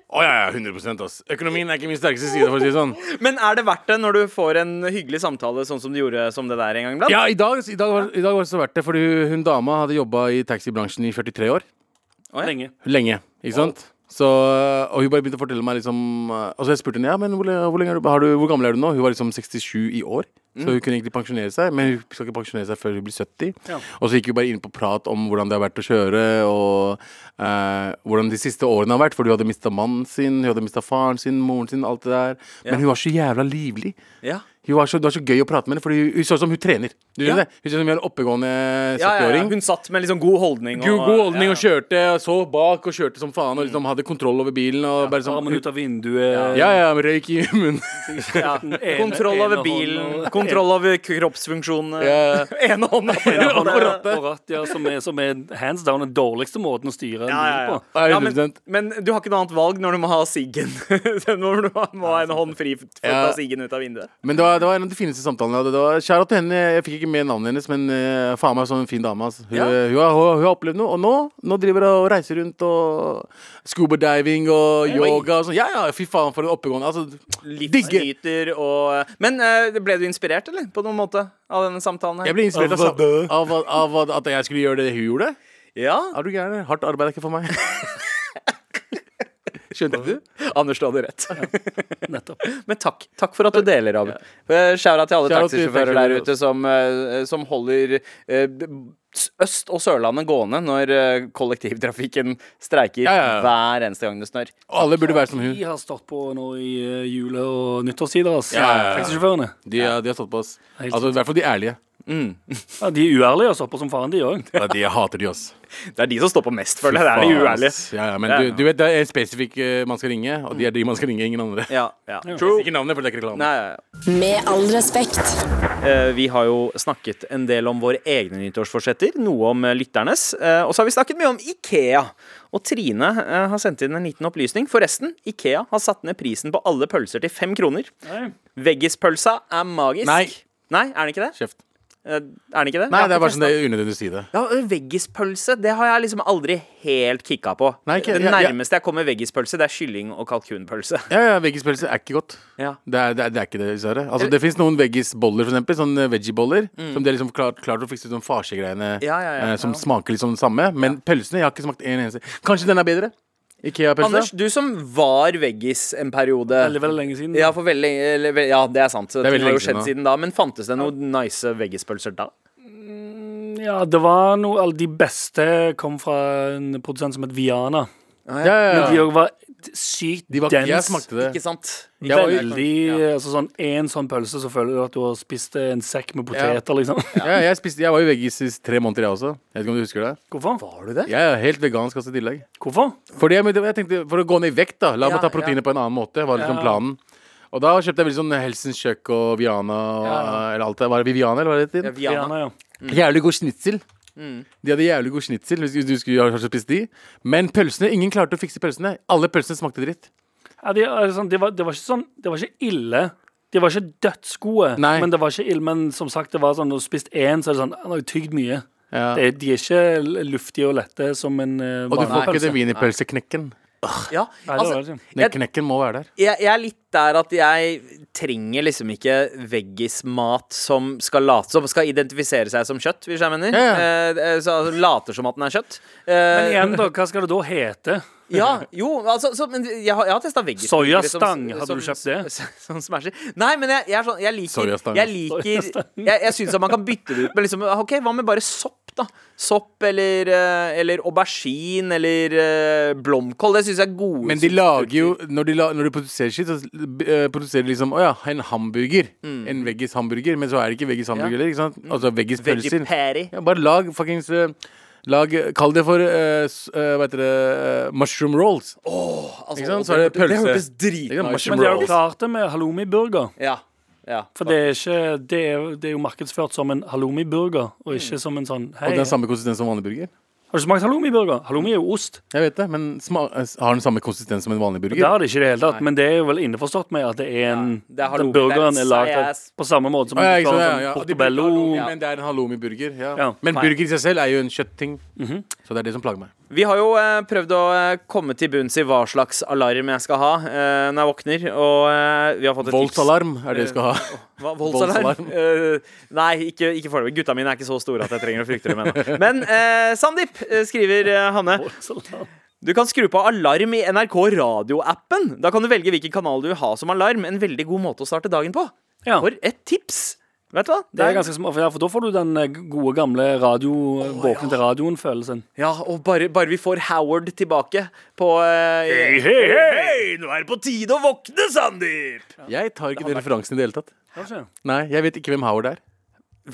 Å ja, ja, 100 ass. Økonomien er ikke min sterkeste side, for å si det sånn. Men er det verdt det når du får en hyggelig samtale sånn som du gjorde som det der en gang iblant? Ja, i dag, i dag, var, i dag var det så verdt det, fordi hun dama hadde jobba i taxibransjen i 43 år. Lenge. Lenge, ikke sant? Så, og hun bare begynte å fortelle meg liksom eh, Og så jeg spurte henne ja, men hvor, le- hvor, lenge er du, har du, hvor gammel er du nå? Hun var liksom 67 i år, så Mm. hun kunne egentlig pensjonere seg. Men hun skal ikke pensjonere seg før hun blir 70. Og så gikk hun bare inn på prat om hvordan det har vært å kjøre, og eh, hvordan de siste årene har vært. For hun hadde mista mannen sin, hun hadde mista faren sin, moren sin, alt det der. Men hun var så jævla livlig. Ja. Hun var så, det var så gøy å prate med henne, for hun, hun så ut som hun trener. Du Ja. skjønner det? Hun så ut som en oppegående Ja, ja, ja. 70-åring. Hun satt med liksom god holdning. God, god holdning ja, og kjørte, og så bak og kjørte som faen og liksom hadde kontroll over bilen. Og bare Armen sånn, ut av vinduet. [laughs] ja, ja, med røyk i munnen. [laughs] ja. Kontroll over bilen, [laughs] [laughs] kontroll over kroppsfunksjonene. Ja, Ene hånda på Og rattet. rattet. Og rattet, ja, som er, som er hands down den dårligste måten å styre en Ja, ja, bil ja. på. Ja, Ja, men, 100%. men du har ikke noe annet valg når du må ha siggen. [laughs] når du må ha en hånd fri for å ta Ja. siggen ut av vinduet. Men det var, det var en av de fineste samtalene jeg hadde. Det var- Kjære til henne, jeg fikk ikke med navnet hennes, men eh, faen meg sånn fin dame. Altså. Hun, Ja. hun, har, hun har opplevd noe, og nå, nå driver hun og reiser rundt og scuba diving og yoga og sånn. Ja, ja, fy faen, for en oppegående. Altså, digger. Livsnyter og Men eh, ble du inspirert, eller? På noen måte? Av denne samtalen Jeg her? ble inspirert av, sam- av, av, av at jeg skulle gjøre det hun gjorde. Ja. Er du gæren? Hardt arbeid er ikke for [laughs] meg. Skjønte du? Anders, du hadde rett. Nettopp. Men takk. Takk for at du deler, Abu. Eh, Shout out til alle Shout out til taxisjåfører der taxisjåfører ute som, eh, som holder eh, Øst- og Sørlandet gående når eh, kollektivtrafikken streiker Ja, ja, ja. hver eneste gang det snør. Og alle burde være som hun. De har stått på nå i eh, jule- og nyttårstider, altså. Ja, ja, ja. Taxisjåførene. De, ja. de har stått på oss. Helt Altså, I hvert fall de ærlige. Ja, de er uærlige og stopper som faren, de òg. Ja, de jeg hater de, ass. Det er de som står på mest, føler jeg. Det er de Faen, uærlige. ass. Ja, ja, men du, du vet, det er en spesifikk eh, man skal ringe, og de er de man skal ringe, ingen andre. Ja, ja. True. Ikke navnet, for det er ikke reklame. Nei, ja, ja. Med all respekt. Eh, Vi har jo snakket en del om våre egne nyttårsforsetter, noe om eh, lytternes. eh, Og så har vi snakket mye om Ikea. Og Trine eh, har sendt inn en liten opplysning. Forresten, Ikea har satt ned prisen på alle pølser til fem kroner. Veggispølsa er magisk. Nei. Nei, er den ikke det? Kjeft. Eh, Er den ikke det? Nei, Jeg har det er bare ikke sånn det er unødvendig å si det. Ja, Veggispølse det har jeg liksom aldri helt kicka på. Nei, ikke- det ja, ja. nærmeste jeg kommer veggispølse, det er kylling- og kalkunpølse. [laughs] Ja, ja, Veggispølse er ikke godt. Ja. Det, er, det, er, det er ikke det, dessverre. Altså, det fins noen veggisboller, for eksempel. Sånn eh, veggieboller. Som det er liksom klart, klart å fikse sånn farsegreiene Mm. Ja, ja, ja, eh, som ja. smaker liksom det samme. Men pølsene jeg har ikke smakt en eneste. Kanskje den er bedre? Anders, Ikea-pølsa? du som var veggis en periode Veldig, veldig lenge siden. ja, for veldig, eller, ve- ja, det er sant. Det, er veldig har jo lenge skjedd siden siden da. Men fantes det noen nice veggispølser da? Ja, det var noe Alle de beste kom fra en produsent som het Viana. Ja, ja, De ja. òg var t- sykt De var, jeg dense. smakte det. Ikke sant? Jeg var, jo- Veldig altså sånn En sånn pølse, så føler du at du har spist en sekk med poteter, liksom. [laughs] ja, jeg, spiste, jeg var jo veggis i tre måneder, jeg også. Jeg vet ikke om du husker det? Hvorfor? Var du det? Jeg er helt vegansk også i tillegg. Hvorfor? Fordi jeg, jeg tenkte, For å gå ned i vekt, da. La Ja, meg ta proteinet på en annen måte. var liksom planen Og da kjøpte jeg veldig sånn Helsens Kjøkk og Viana og eller alt det. Var det Viviana, eller hva det heter? Viana. Viana, ja. Jævlig god schnitzel. Mm. De hadde jævlig god schnitzel. Hvis du skulle ha kanskje spist de. Men pølsene, ingen klarte å fikse pølsene. Alle pølsene smakte dritt. Ja, de, er sånn, det, var, det var ikke sånn Det var ikke ille. De var ikke dødsgode, Nei. men det var ikke ille. Men som sagt, det var sånn når du har spist én, så er det sånn Han har jo tygd mye. Ja. Det, de er ikke l- luftige og lette som en uh, Og du får ikke vanlig pølse. den wienerpølseknekken. Ja, Nei, det altså, var det ikke. Den knekken må være der. jeg, jeg er litt der at jeg trenger liksom ikke veggismat som skal late som Skal identifisere seg som kjøtt, hvis jeg mener. Ja, ja. Eh, eh, så altså, later som at den er kjøtt. Eh, Men igjen, da, hva skal det da hete? ja, jo, altså så, men jeg har, jeg har testa veggispølser. Sojastang, hadde du kjøpt det? liksom, Som, som smasher. Nei, men jeg, jeg, er sånn, jeg liker Sojastang. Jeg, liker, jeg, jeg syns at man kan bytte det ut med liksom OK, hva med bare sopp, da? Sopp eller, eh, eller aubergine eller eh, blomkål. Det syns jeg er gode Men de lager jo Når de, la, når de produserer skitt, så eh, produserer de liksom Å ja, en hamburger. Mm. En veggis hamburger. Men så er det ikke veggis hamburger, ikke sant? Altså veggis pølser. Veggie-patty. Ja, bare lag fuckings eh, Lag, Kall det for eh, s- eh, Hva heter det eh, Mushroom rolls. Altså, Ikke sant? og Så er det pølse. Det hørtes Ikke sant? dritnice Mushroom Men de har jo rolls. klart det med halloumi-burger. ut. Ja. ja. For det er, ikke, det, er, det er jo markedsført som en halloumi-burger, og ikke som en sånn Mm. hei, Og den Har samme konsistens som vanlig burger. du smakt halloumi-burger? Halloumi er jo ost. Jeg vet det, men sma eh, har den samme konsistens som en vanlig burger. Det har det ikke i det hele tatt, men det er jo vel innforstått med at det er en det er halloumi. den burgeren Det er er lagd av- size. på samme måte som Å, ja, ikke sant, sånn ja, ja. Og de bruker portobello halloumi, [laughs] Men det er en halloumi-burger. Ja. Ja. Mhm. Men burger i seg selv er jo en kjøttting. Så det er det som plager meg. Vi har jo eh, prøvd å eh, komme til bunns i hva slags alarm jeg skal ha eh, når jeg våkner. Og eh, vi har fått et Voldsalarm er det du skal ha. [laughs] tips. Hva, voldsalarm? Voldsalarm. [laughs] Eh, nei, ikke, ikke foreløpig. Gutta mine er ikke så store at jeg trenger å frykte dem ennå. Men eh, Sandeep, eh, skriver eh, Hanne, du kan skru på alarm i NRK radioappen. Da kan du velge hvilken kanal du vil ha som alarm. En veldig god måte å starte dagen på. Ja, For et tips! Vet du hva? det er ganske smart, for, ja, for da får du den eh, gode gamle radio, våkne til radioen-følelsen. Ja, og bare, bare vi får Howard tilbake på eh, hei, Nå er det på tide å våkne, Sandeep! Jeg tar ikke den referansen i det hele tatt. Kanskje? Nei, jeg vet ikke hvem Howard er.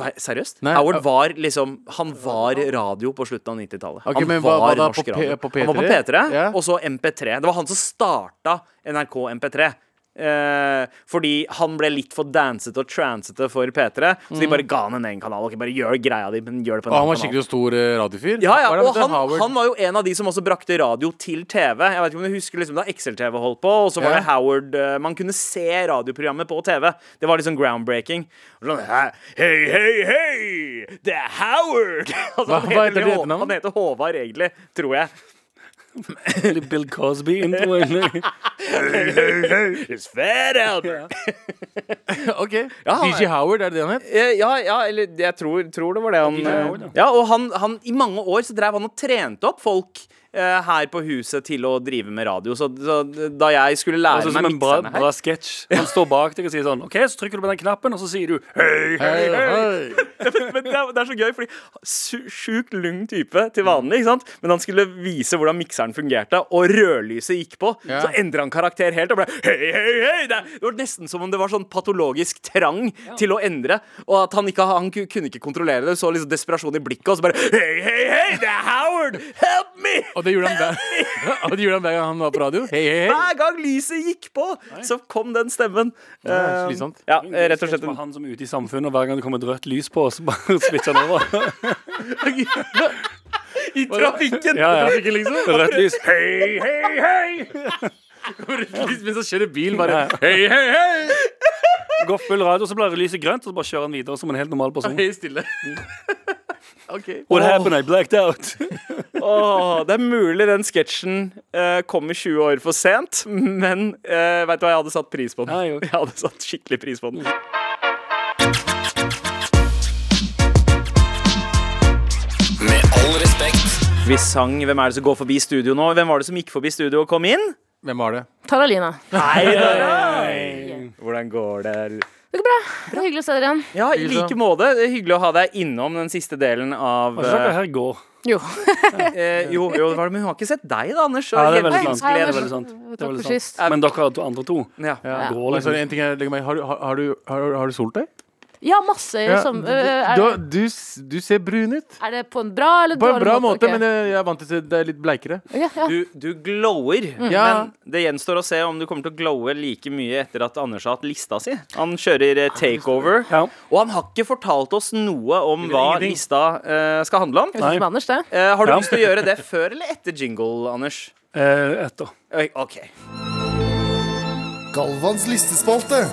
Hva- Seriøst? Nei, Howard ja. var liksom Han var radio på slutten av 90-tallet. Ok, han men hva- hva da på P- på P3? Han var på P3, Ja. og så MP3. Det var han som starta NRK MP3. Eh, fordi han ble litt for dansete og transete for P3, så de bare ga han en egen kanal. Ok, bare gjør greia di, men gjør det på en Mm. Og han var annen kanal. skikkelig stor eh, radiofyr. Ja, ja, Hva er det og med den han, Howard? han var jo en av de som også brakte radio til TV. Jeg vet ikke om du husker liksom Da XL-TV holdt på, og så var Ja. det Howard eh, Man kunne se radioprogrammet på TV. Det var liksom groundbreaking. Og Sånn, Hei, hei, hei! hei, Det er Howard! [laughs] Altså, Hva- han hva vel heter det Hå- etternavnet? Han heter Håvard, egentlig, tror jeg. Litt Bill [laughs] Cosby-intro, egentlig. It's fat out there. [laughs] Ok. han DJ Howard, er det det han het? Eh, Ja, ja, eller jeg tror, tror det var det han DJ Howard, ja. eh, Ja, og han, han i mange år så drev han og trente opp folk eh, her på huset til å drive med radio. Så, så da jeg skulle lære Altså, som meg en bra, miksene her bra sketsj. Han står bak deg og sier sånn OK, så trykker du på den knappen, og så sier du hei, hei. Hei, hei. Men det er, det er så gøy, fordi su- sjukt lung type til vanlig, ikke sant? Men han skulle vise hvordan mikseren fungerte, og rødlyset gikk på. Ja. Så endra han karakter helt og ble hei, hei, hei! Det, er- det var nesten som om det var sånn patologisk trang til å endre, og at han ikke han ku- kunne ikke kontrollere det. Så liksom desperasjon i blikket, og så bare hei, hei, hei! Det er Howard! Help me! Og det gjorde han [laughs] hver og det gjorde han hver gang han var på radio. Hei, hei, hei. Hver gang lyset gikk på, så kom den stemmen. Ja, Eh, slitsomt. ja, rett og slett Det var en Han som er ute i samfunnet, og hver gang det kommer et rødt lys på, så bare [laughs] switcher han over. I trafikken! Ja, ja. Ikke liksom. Rødt lys. Hei, hei, hei! Mens han kjører bil, bare Hei, hei, hei! [laughs] Går full radio, så blir lyset grønt, og så bare kjører han videre som en helt normal person. Helt [laughs] stille. OK. What happened? I blacked out. Åh, det er mulig den sketsjen eh, kom i 20 år for sent, men uh, vet du hva, jeg hadde satt pris på den. Ja, jeg òg. jeg hadde satt skikkelig pris på den. Med all respekt. Vi sang 'Hvem er det som går forbi studio' nå. Hvem var det som gikk forbi studio og kom inn? Hvem var det? Taralina. Hei, Hvordan går det? Det går bra. Det er hyggelig å se dere igjen. Ja, i like måte. Det er Hyggelig å ha deg innom den siste delen av Hva er det her går? Jo. eh, Jo, jo det var det, men hun har ikke sett deg, da, Anders. Ja, det er Helt veldig sant. Hei, Det hei, er hei. veldig sant. Det er Takk sånn. veldig for sant. sist. Men dere to andre to Ja. Ja. går Men så er sånn- liksom. det en ting jeg legger meg i. Har, du- har, har, du- har, har du solt deg? Ja, masse som øh, er, du, det, du, s- du ser brun ut. er det på en bra eller På en dårlig bra måte, Ok. men jeg, jeg er vant til å se deg litt bleikere. Ja, ja. Du, du glower, Ja. men det gjenstår å se om du kommer til å glowe like mye etter at Anders har hatt lista si. Han kjører eh, takeover, Ja. og han har ikke fortalt oss noe om hva ingenting. lista eh, skal handle om. Høres ut som Anders, det. Eh, har du Ja. lyst til å gjøre det før eller etter jingle, Anders? Eh, Etter. Oi, OK. Galvans listespalte.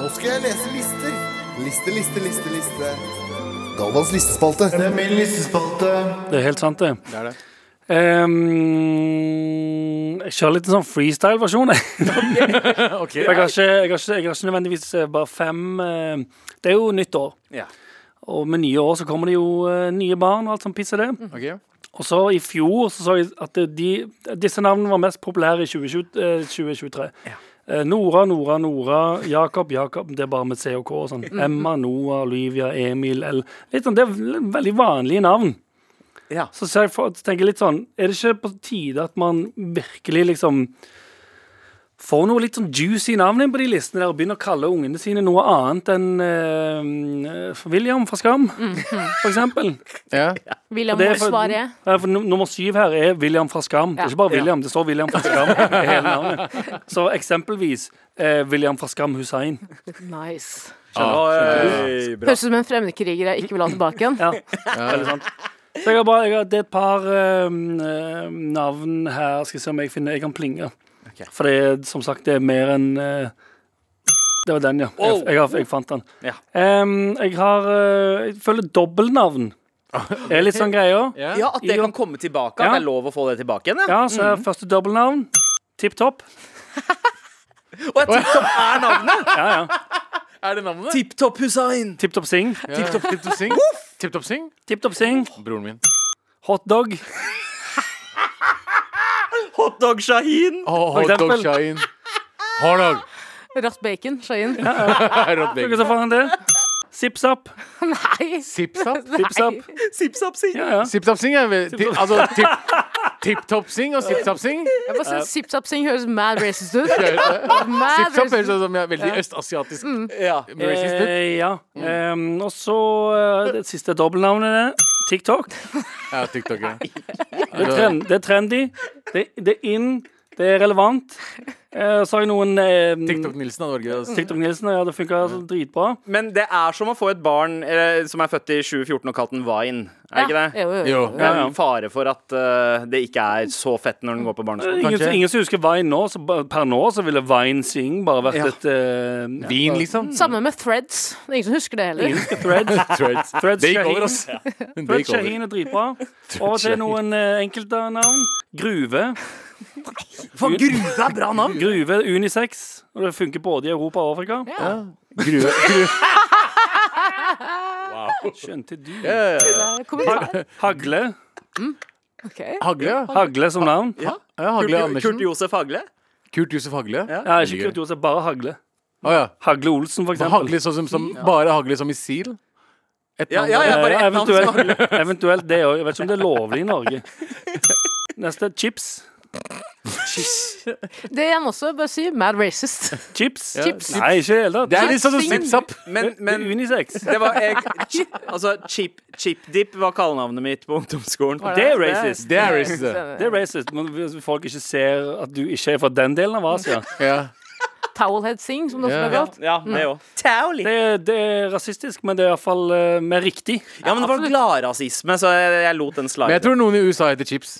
Nå skal jeg lese lister. Liste, liste, liste, liste. Galvans listespalte. Det er min listespalte. Det er helt sant, det. er det. Ehm, jeg kjører litt en sånn freestyle-versjon. jeg. For jeg, har ikke, jeg, har ikke, jeg har ikke nødvendigvis eh, bare fem eh, Det er jo nytt år. Ja. Og med nye år så kommer det jo eh, nye barn og alt sånn piss er det. Og så i fjor så så jeg at det- de, disse navnene var mest populære i 2020, eh, 2023. Eh, Nora, Nora, Nora, Jakob, Jakob. Det er bare med C og K og sånn. Emma, Noah, Olivia, Emil, L. Litt sånn, det er vel- veldig vanlige navn. Ja. Så ser jeg for, tenker jeg litt sånn Er det ikke på tide at man virkelig liksom Får noe litt sånn juicy navn inn på de listene der og begynner å kalle ungene sine noe annet enn eh, William fra Skam, for eksempel. Ja. William Det er for- Morsvaret. Ja, for num- nummer syv her er William fra Skam. Det er Ja. ikke bare William, det står William fra Skam. i hele navnet. Så eksempelvis eh, William fra Skam Hussein. Nice. Oi, bra. Høres ut som en fremmedkriger jeg ikke vil ha tilbake [laughs] igjen. Ja, veldig sant. Så jeg har bare, jeg har, det er et par eh, eh, navn her. Skal se om jeg finner Jeg kan plinge. For det er som sagt det er mer enn eh, Det var den, ja. Jeg, jeg, har, jeg fant den. Ja. Em, jeg har eh, Jeg føler [laughs] dobbeltnavn. Det er litt sånn greia. Ja, At det Jo. kan komme tilbake. At Ja. det er lov å få det tilbake igjen. Ja. Ja, så er første dobbeltnavn Tipp Topp. Og jeg tipp topp er navnet! Ja, ja. Er det navnet? Tipp topp Hussein. Tipp Topp Sing. Tip Top Tip Top Sing. Tip Top Sing. Tipp Topp Sing. Broren min. Hotdog. Hotdog Shahin. Oh, For hotdog eksempel. shine. Hotdog. Rått bacon, Shahin. [laughs] Rått Hva bacon. så faen det? Zipp-zapp. [laughs] Nei! Zipzap. Zipp-zapp. Zipzap Sing. Ja, ja. Zipzap Sing er vel ti- Altså tip, tip Top Sing og Zipzap Sing. Jeg bare synes Zip Zap Sing høres mad racist [laughs] ut. Mad Zipzap høres racist. ut som jeg er veldig østasiatisk Ja. racist ut. Mm. Eh, ja. Em, og så eh, det siste dobbeltnavnet er TikTok. Ja, Altså, TikTokere. Det er, trend, det er trendy, det, det er in, det er relevant. Eh, så har jeg noen eh, TikTok-Nilsen av Norge. altså. TikTok-Nilsen. Ja, det funka dritbra. Men det er som å få et barn eh, som er født i 2014 og kalt den Vine. Er det ikke det? Ja, jo, jo. Jo. Det er Ja, ja. en fare for at eh, det ikke er så fett når den går på barneskolen. Eh, Ingen, Kanskje. ingen som husker Vine nå, så ba- per nå så ville Vine Sing bare vært Ja. et eh, Vin, liksom. Samme med threads. Det er ingen som husker det heller. Ingen Threads. [laughs] Threads. Threads Det gikk Shaheen. over, ass. Det Threads gikk over. Shaheen er dritbra. Og til noen eh, enkelte navn. Gruve. For gruve er bra navn! Gruve, unisex. Og det funker både i Europa og Afrika. Grue, grue. Skjønte du? Det er kommentar. Hagle. Ok. Hagle, ja. Hagle som navn. ja. Hagle Kurt, Andersen. Kurt Josef Hagle. Kurt Josef Hagle. Å Ja, ikke Kurt Josef, bare Hagle. ja. Hagle Olsen, for eksempel. Hagle sånn som, som Bare hagle som i sil? Et Ja, navn ja, ja, Eh, bare ett navn som Hagle. eventuelt, [laughs] eventuelt det òg. Jeg vet ikke om det er lovlig i Norge. Neste. Chips. Det er han også, bare si. Mad racist. Chips. Chips. Nei, ikke i det hele Det tatt. er litt sånn som Sing. Zipzap. Men, men [laughs] Unisex. det var jeg, chi, Altså, Chip, chip Dip var kallenavnet mitt på ungdomsskolen. Det er racist. Det er racist. det. Det er racist, men hvis folk ikke ser at du ikke er fra den delen av Asia Ja. [laughs] Towelhead Sing, som det også ble Ja. kalt. Ja, det òg. Det, er- det er rasistisk, men det er iallfall eh, mer riktig. Ja, men det var gladrasisme, så jeg, jeg lot den Men jeg slide. tror noen i USA heter Chips.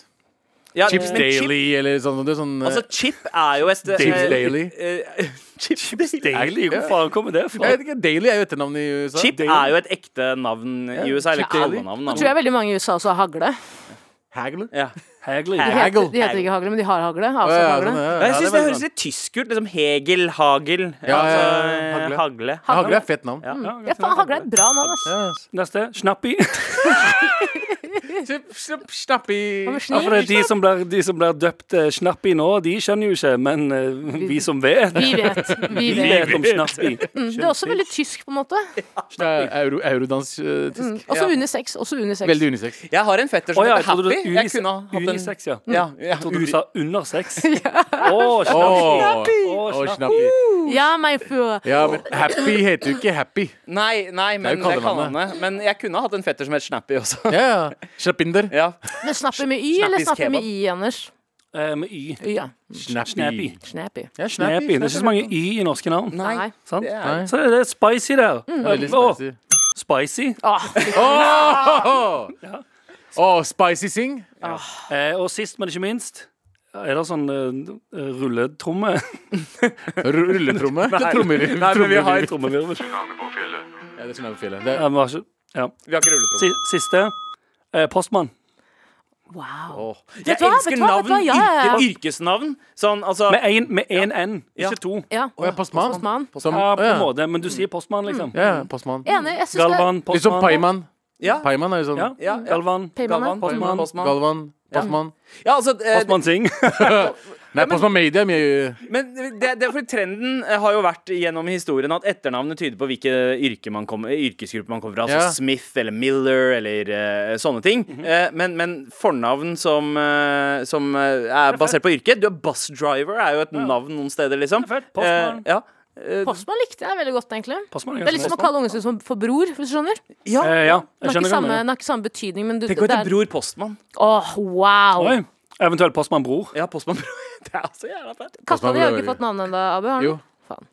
Ja, Chips men chip- Daily eller sånn. Det er sånn Altså, chip er jo et eh, Chips Daily. eh, [laughs] Chips Daily. Deilig. Hvor faen kommer det fra? eh, jeg vet ikke, Daily er jo etternavnet i USA. Chip Daily. er jo et ekte navn i USA. Eller ikke Ja. alle navn. da, Tror men- jeg veldig mange i USA også har hagle. Hagler? Ja. Hagler. De Hagel. heter, de heter ikke hagle, men de har hagle. Å, ja, Avsatt sånn, hagle. ja, ja, Jeg det syns er det veldig høres sant. litt tysk ut. Liksom Hegel, Hagel. Ja, ja, ja, altså, hagle. hagle. Hagler er et fett navn. Ja, Mm. Ja, faen, hagle er et bra navn, ass. Neste. Snappi. Snipp, snipp, Snappi. Han er [laughs] Ja, for det er snill. de som blir, de som blir døpt eh, Snappi nå, de skjønner jo ikke, men eh, vi som vet, Vi vet. [laughs] Vi vi vet. vet om Snappi. Mm, Det er også veldig tysk, på en måte. Det er Euro, Eurodans-tysk. Også unisex. Også unisex. Veldig unisex. Jeg har en fetter som Å ja, jeg heter trodde Happy. du Jeg unis kunne ha hatt en unisex, ja. Mm. ja, ja. Jeg trodde du sa under sex. Å, Snappi. Åh, Å, åh, Snappi. Snappi. Ja, meg fru. Ja, men Happy heter jo ikke Happy. Nei, nei, men Det det er jo er kallenavnet. Men jeg kunne ha hatt en fetter som het Snappy [laughs] også. Ja, ja. Snappinder. Ja. Men snapper med y, eller Snappis snapper med kebab. i, Anders? Eh, Med y. Ja. Snappy. Snappy. Snappy. Ja, Snappy. Det er ikke så mange y i norske navn. Nei. Sant? det er- Nei. Så det er spicy der. Veldig Å, spicy. spicy. Åh, Åh! Åh, spicy sing. Eh, Og sist, men ikke minst, er det sånn eh, rulletromme? Ru- Rulletromme. Det er trommer. Nei, men vi har en [laughs] trommer. trommevirvel. Ja, det er tsunami på fjellet. Det er- Ja, Eh, vi har ikke- Ja. Vi har ikke rulletromme. Si- Siste. Eh, Postmann. wow. Åh. Vet Jeg du hva? elsker Vet du hva? Vet navn. du hva? Ja, ja, ja. yrke- Yrkesnavn. Sånn, altså Med én med en N, Ja. ikke to. Ja. Åh, ja, postmann. Postmann. Som, Ja, på en ja. måte, men du sier postmann, liksom. ja, postmann. Enig. Jeg syns det. Galvan, Litt som postmann. paiman. Ja. Paiman er jo Ja, sånn Ja, ja. Galvan. Payman, ja. Postmann. Postmann. Galvan. [laughs] Postmann. Ja, altså, eh, Postmann Singh. Nei, postmann Media er mye men det, det, er fordi trenden eh, har jo vært gjennom historien at etternavnet tyder på hvilke yrke man kommer- yrkesgruppe man kommer fra. Ja. Altså Smith eller Miller eller eh, sånne ting. Mhm. Eh, men, men fornavn som, eh, som eh, er basert på yrke Du er bussdriver, er jo et navn noen steder, liksom. Det er fett. Postmann. Eh, ja. Eh, Postmann likte jeg veldig godt, egentlig. Postmann Det er litt som å postmann. kalle ungen sin som- for bror, hvis du skjønner. ja. Eh, Ja, jeg Den har skjønner ikke hva du samme, mener. den har ikke samme betydning, men du, det Tenk å hete er Bror Postmann. Åh, wow. Oi. Eventuelt postmann Bror. Ja, Postmann [laughs] Bror. Det er så jævla fett. Katta Postmann di har Bror er ikke jo- fått navn ennå, Abu. Har Jo. den? Faen.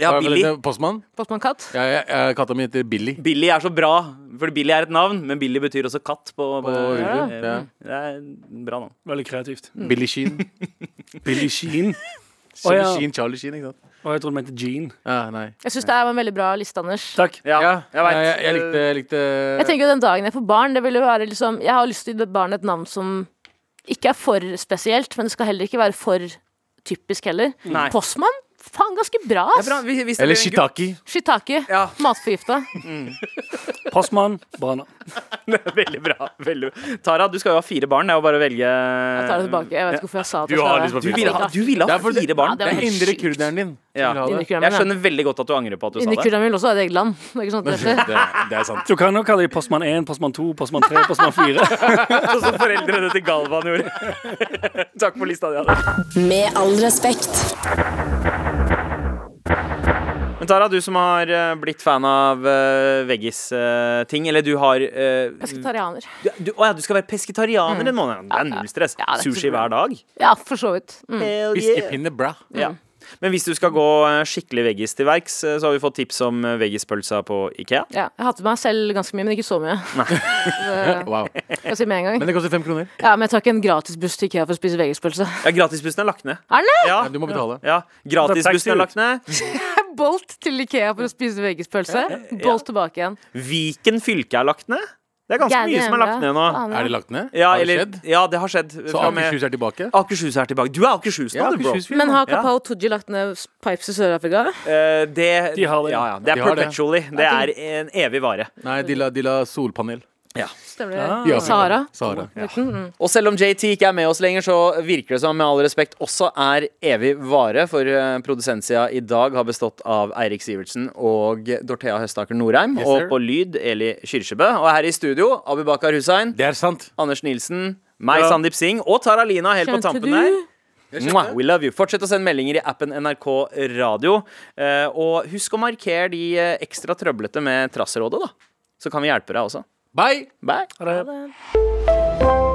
Ja, Hva- hva Billy. heter det? Postmann? Postmann Katt? Ja, ja, ja, Katta mi heter Billy. Billy er så bra, for Billy er et navn, men Billy betyr også katt på, på På Urdu. Eh, Ja. Det er en bra navn. Veldig kreativt. Billy Sheen. Billy Sheen. Mm. [laughs] Å, Charlie ja. Sheen, Charlie Sheen, ikke sant? Og jeg tror du mente Jean. Ja, nei. Jeg syns det her var en veldig bra liste, Anders. Takk. Ja, jeg vet. Ja, jeg, jeg likte, jeg likte Jeg tenker jo den dagen jeg får barn, det vil jo være liksom Jeg har lyst til å gi det barnet et navn som ikke er for spesielt, men det skal heller ikke være for typisk heller. Nei. Postmann? Faen, ganske bra, Det er bra. ass. Hvis- hvis det Eller blir en Shitaki. Shitake. Ja. Matforgifta. Postmann Brana. gutt- [laughs] Veldig bra. Veldig bra. Tara, du skal jo ha fire barn. Det er jo bare å velge Jeg tar det tilbake. Jeg vet ikke hvorfor jeg sa at Du jeg har skal lyst på Um, Du ville ha, du ville Det ha er for- fire barn. Ja, Det det er indre kurderen din. Ja. som vil ha det. Inni Jeg skjønner veldig godt at du angrer på at du sa [laughs] Inni det. kula mi også er det eget land. Det er ikke [laughs] sånn at det heter. [laughs] Det, det er sant. Du kan jo kalle dem postmann 1, postmann 2, postmann 3, postmann 4. Sånn som foreldrene til Galvan gjorde. [laughs] Takk for lista di. Anne. Med all respekt. Men Tara, du som har eh, blitt fan av uh, veggis-ting, eller du har eh, Pesketarianer. du, du, å ja, du skal være pesketarianer en måned. Det er null stress. Mm. Ja, det er Sushi ikke hver dag. Ja, for så vidt. Mm. Hell yeah. Fiskepinne, bra. Ja. Men hvis du skal gå eh, skikkelig veggis til verks, eh, så har vi fått tips om eh, veggispølsa på Ikea. Ja, jeg hater meg selv ganske mye, men ikke så [laughs] mye. Wow. Skal jeg si med en gang. Men det koster fem kroner. Ja, men jeg tar ikke en gratisbuss til Ikea for å spise veggispølse. Ja, gratisbussen er lagt ned. Er den det? Ja, Ja, du må betale. ja gratisbussen er Da tar lagt ned. Bolt til Ikea for å spise veggispølse. Bolt tilbake igjen. Viken fylke er lagt ned. Det er ganske mye som er lagt ned nå. Er det lagt ned? Ja, har det eller, skjedd? ja det har skjedd. Så Fra og med- Akershus er tilbake? Akershus er tilbake. Du er Akershus nå, du, bro. Akershus, fy Men faen. har Ja. Kapao Tooji lagt ned Pipes i Sør-Afrika? Eh, det, De har det. Ja, ja, det er De har det. perpetually. Det er en evig vare. Nei, de la, de la solpanel. Stemmer det? Ah. Ja. Sahara? Sahara. Og selv om JT ikke er med oss lenger, så virker det som med all respekt også er evig vare. For eh, produsentsida i dag har bestått av Eirik Sivertsen og Dorthea Høstaker Norheim. Yes, og sir. på lyd Eli Kyrkjebø. Og her i studio Abubakar Hussein, Det er sant. Anders Nilsen, meg Ja. Sandeep Singh og Tara Lina helt på Skjønte tampen du? der. Mwah, we love you. Fortsett å sende meldinger i appen NRK Radio. Eh, og husk å markere de eh, ekstra trøblete med Trassrådet, da. Så kan vi hjelpe deg også. Bye! Bye.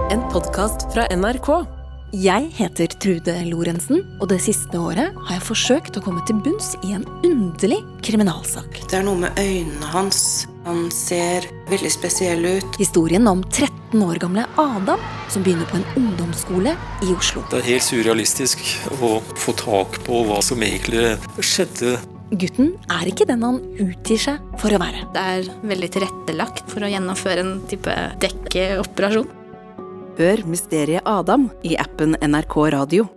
En podkast fra NRK. Jeg heter Trude Lorentzen, og det siste året har jeg forsøkt å komme til bunns i en underlig kriminalsak. Det er noe med øynene hans. Han ser veldig spesiell ut. Historien om 13 år gamle Adam som begynner på en ungdomsskole i Oslo. Det er helt surrealistisk å få tak på hva som egentlig skjedde. Gutten er ikke den han utgir seg for å være. Det er veldig tilrettelagt for å gjennomføre en type dekkeoperasjon. Hør mysteriet Adam i appen NRK Radio.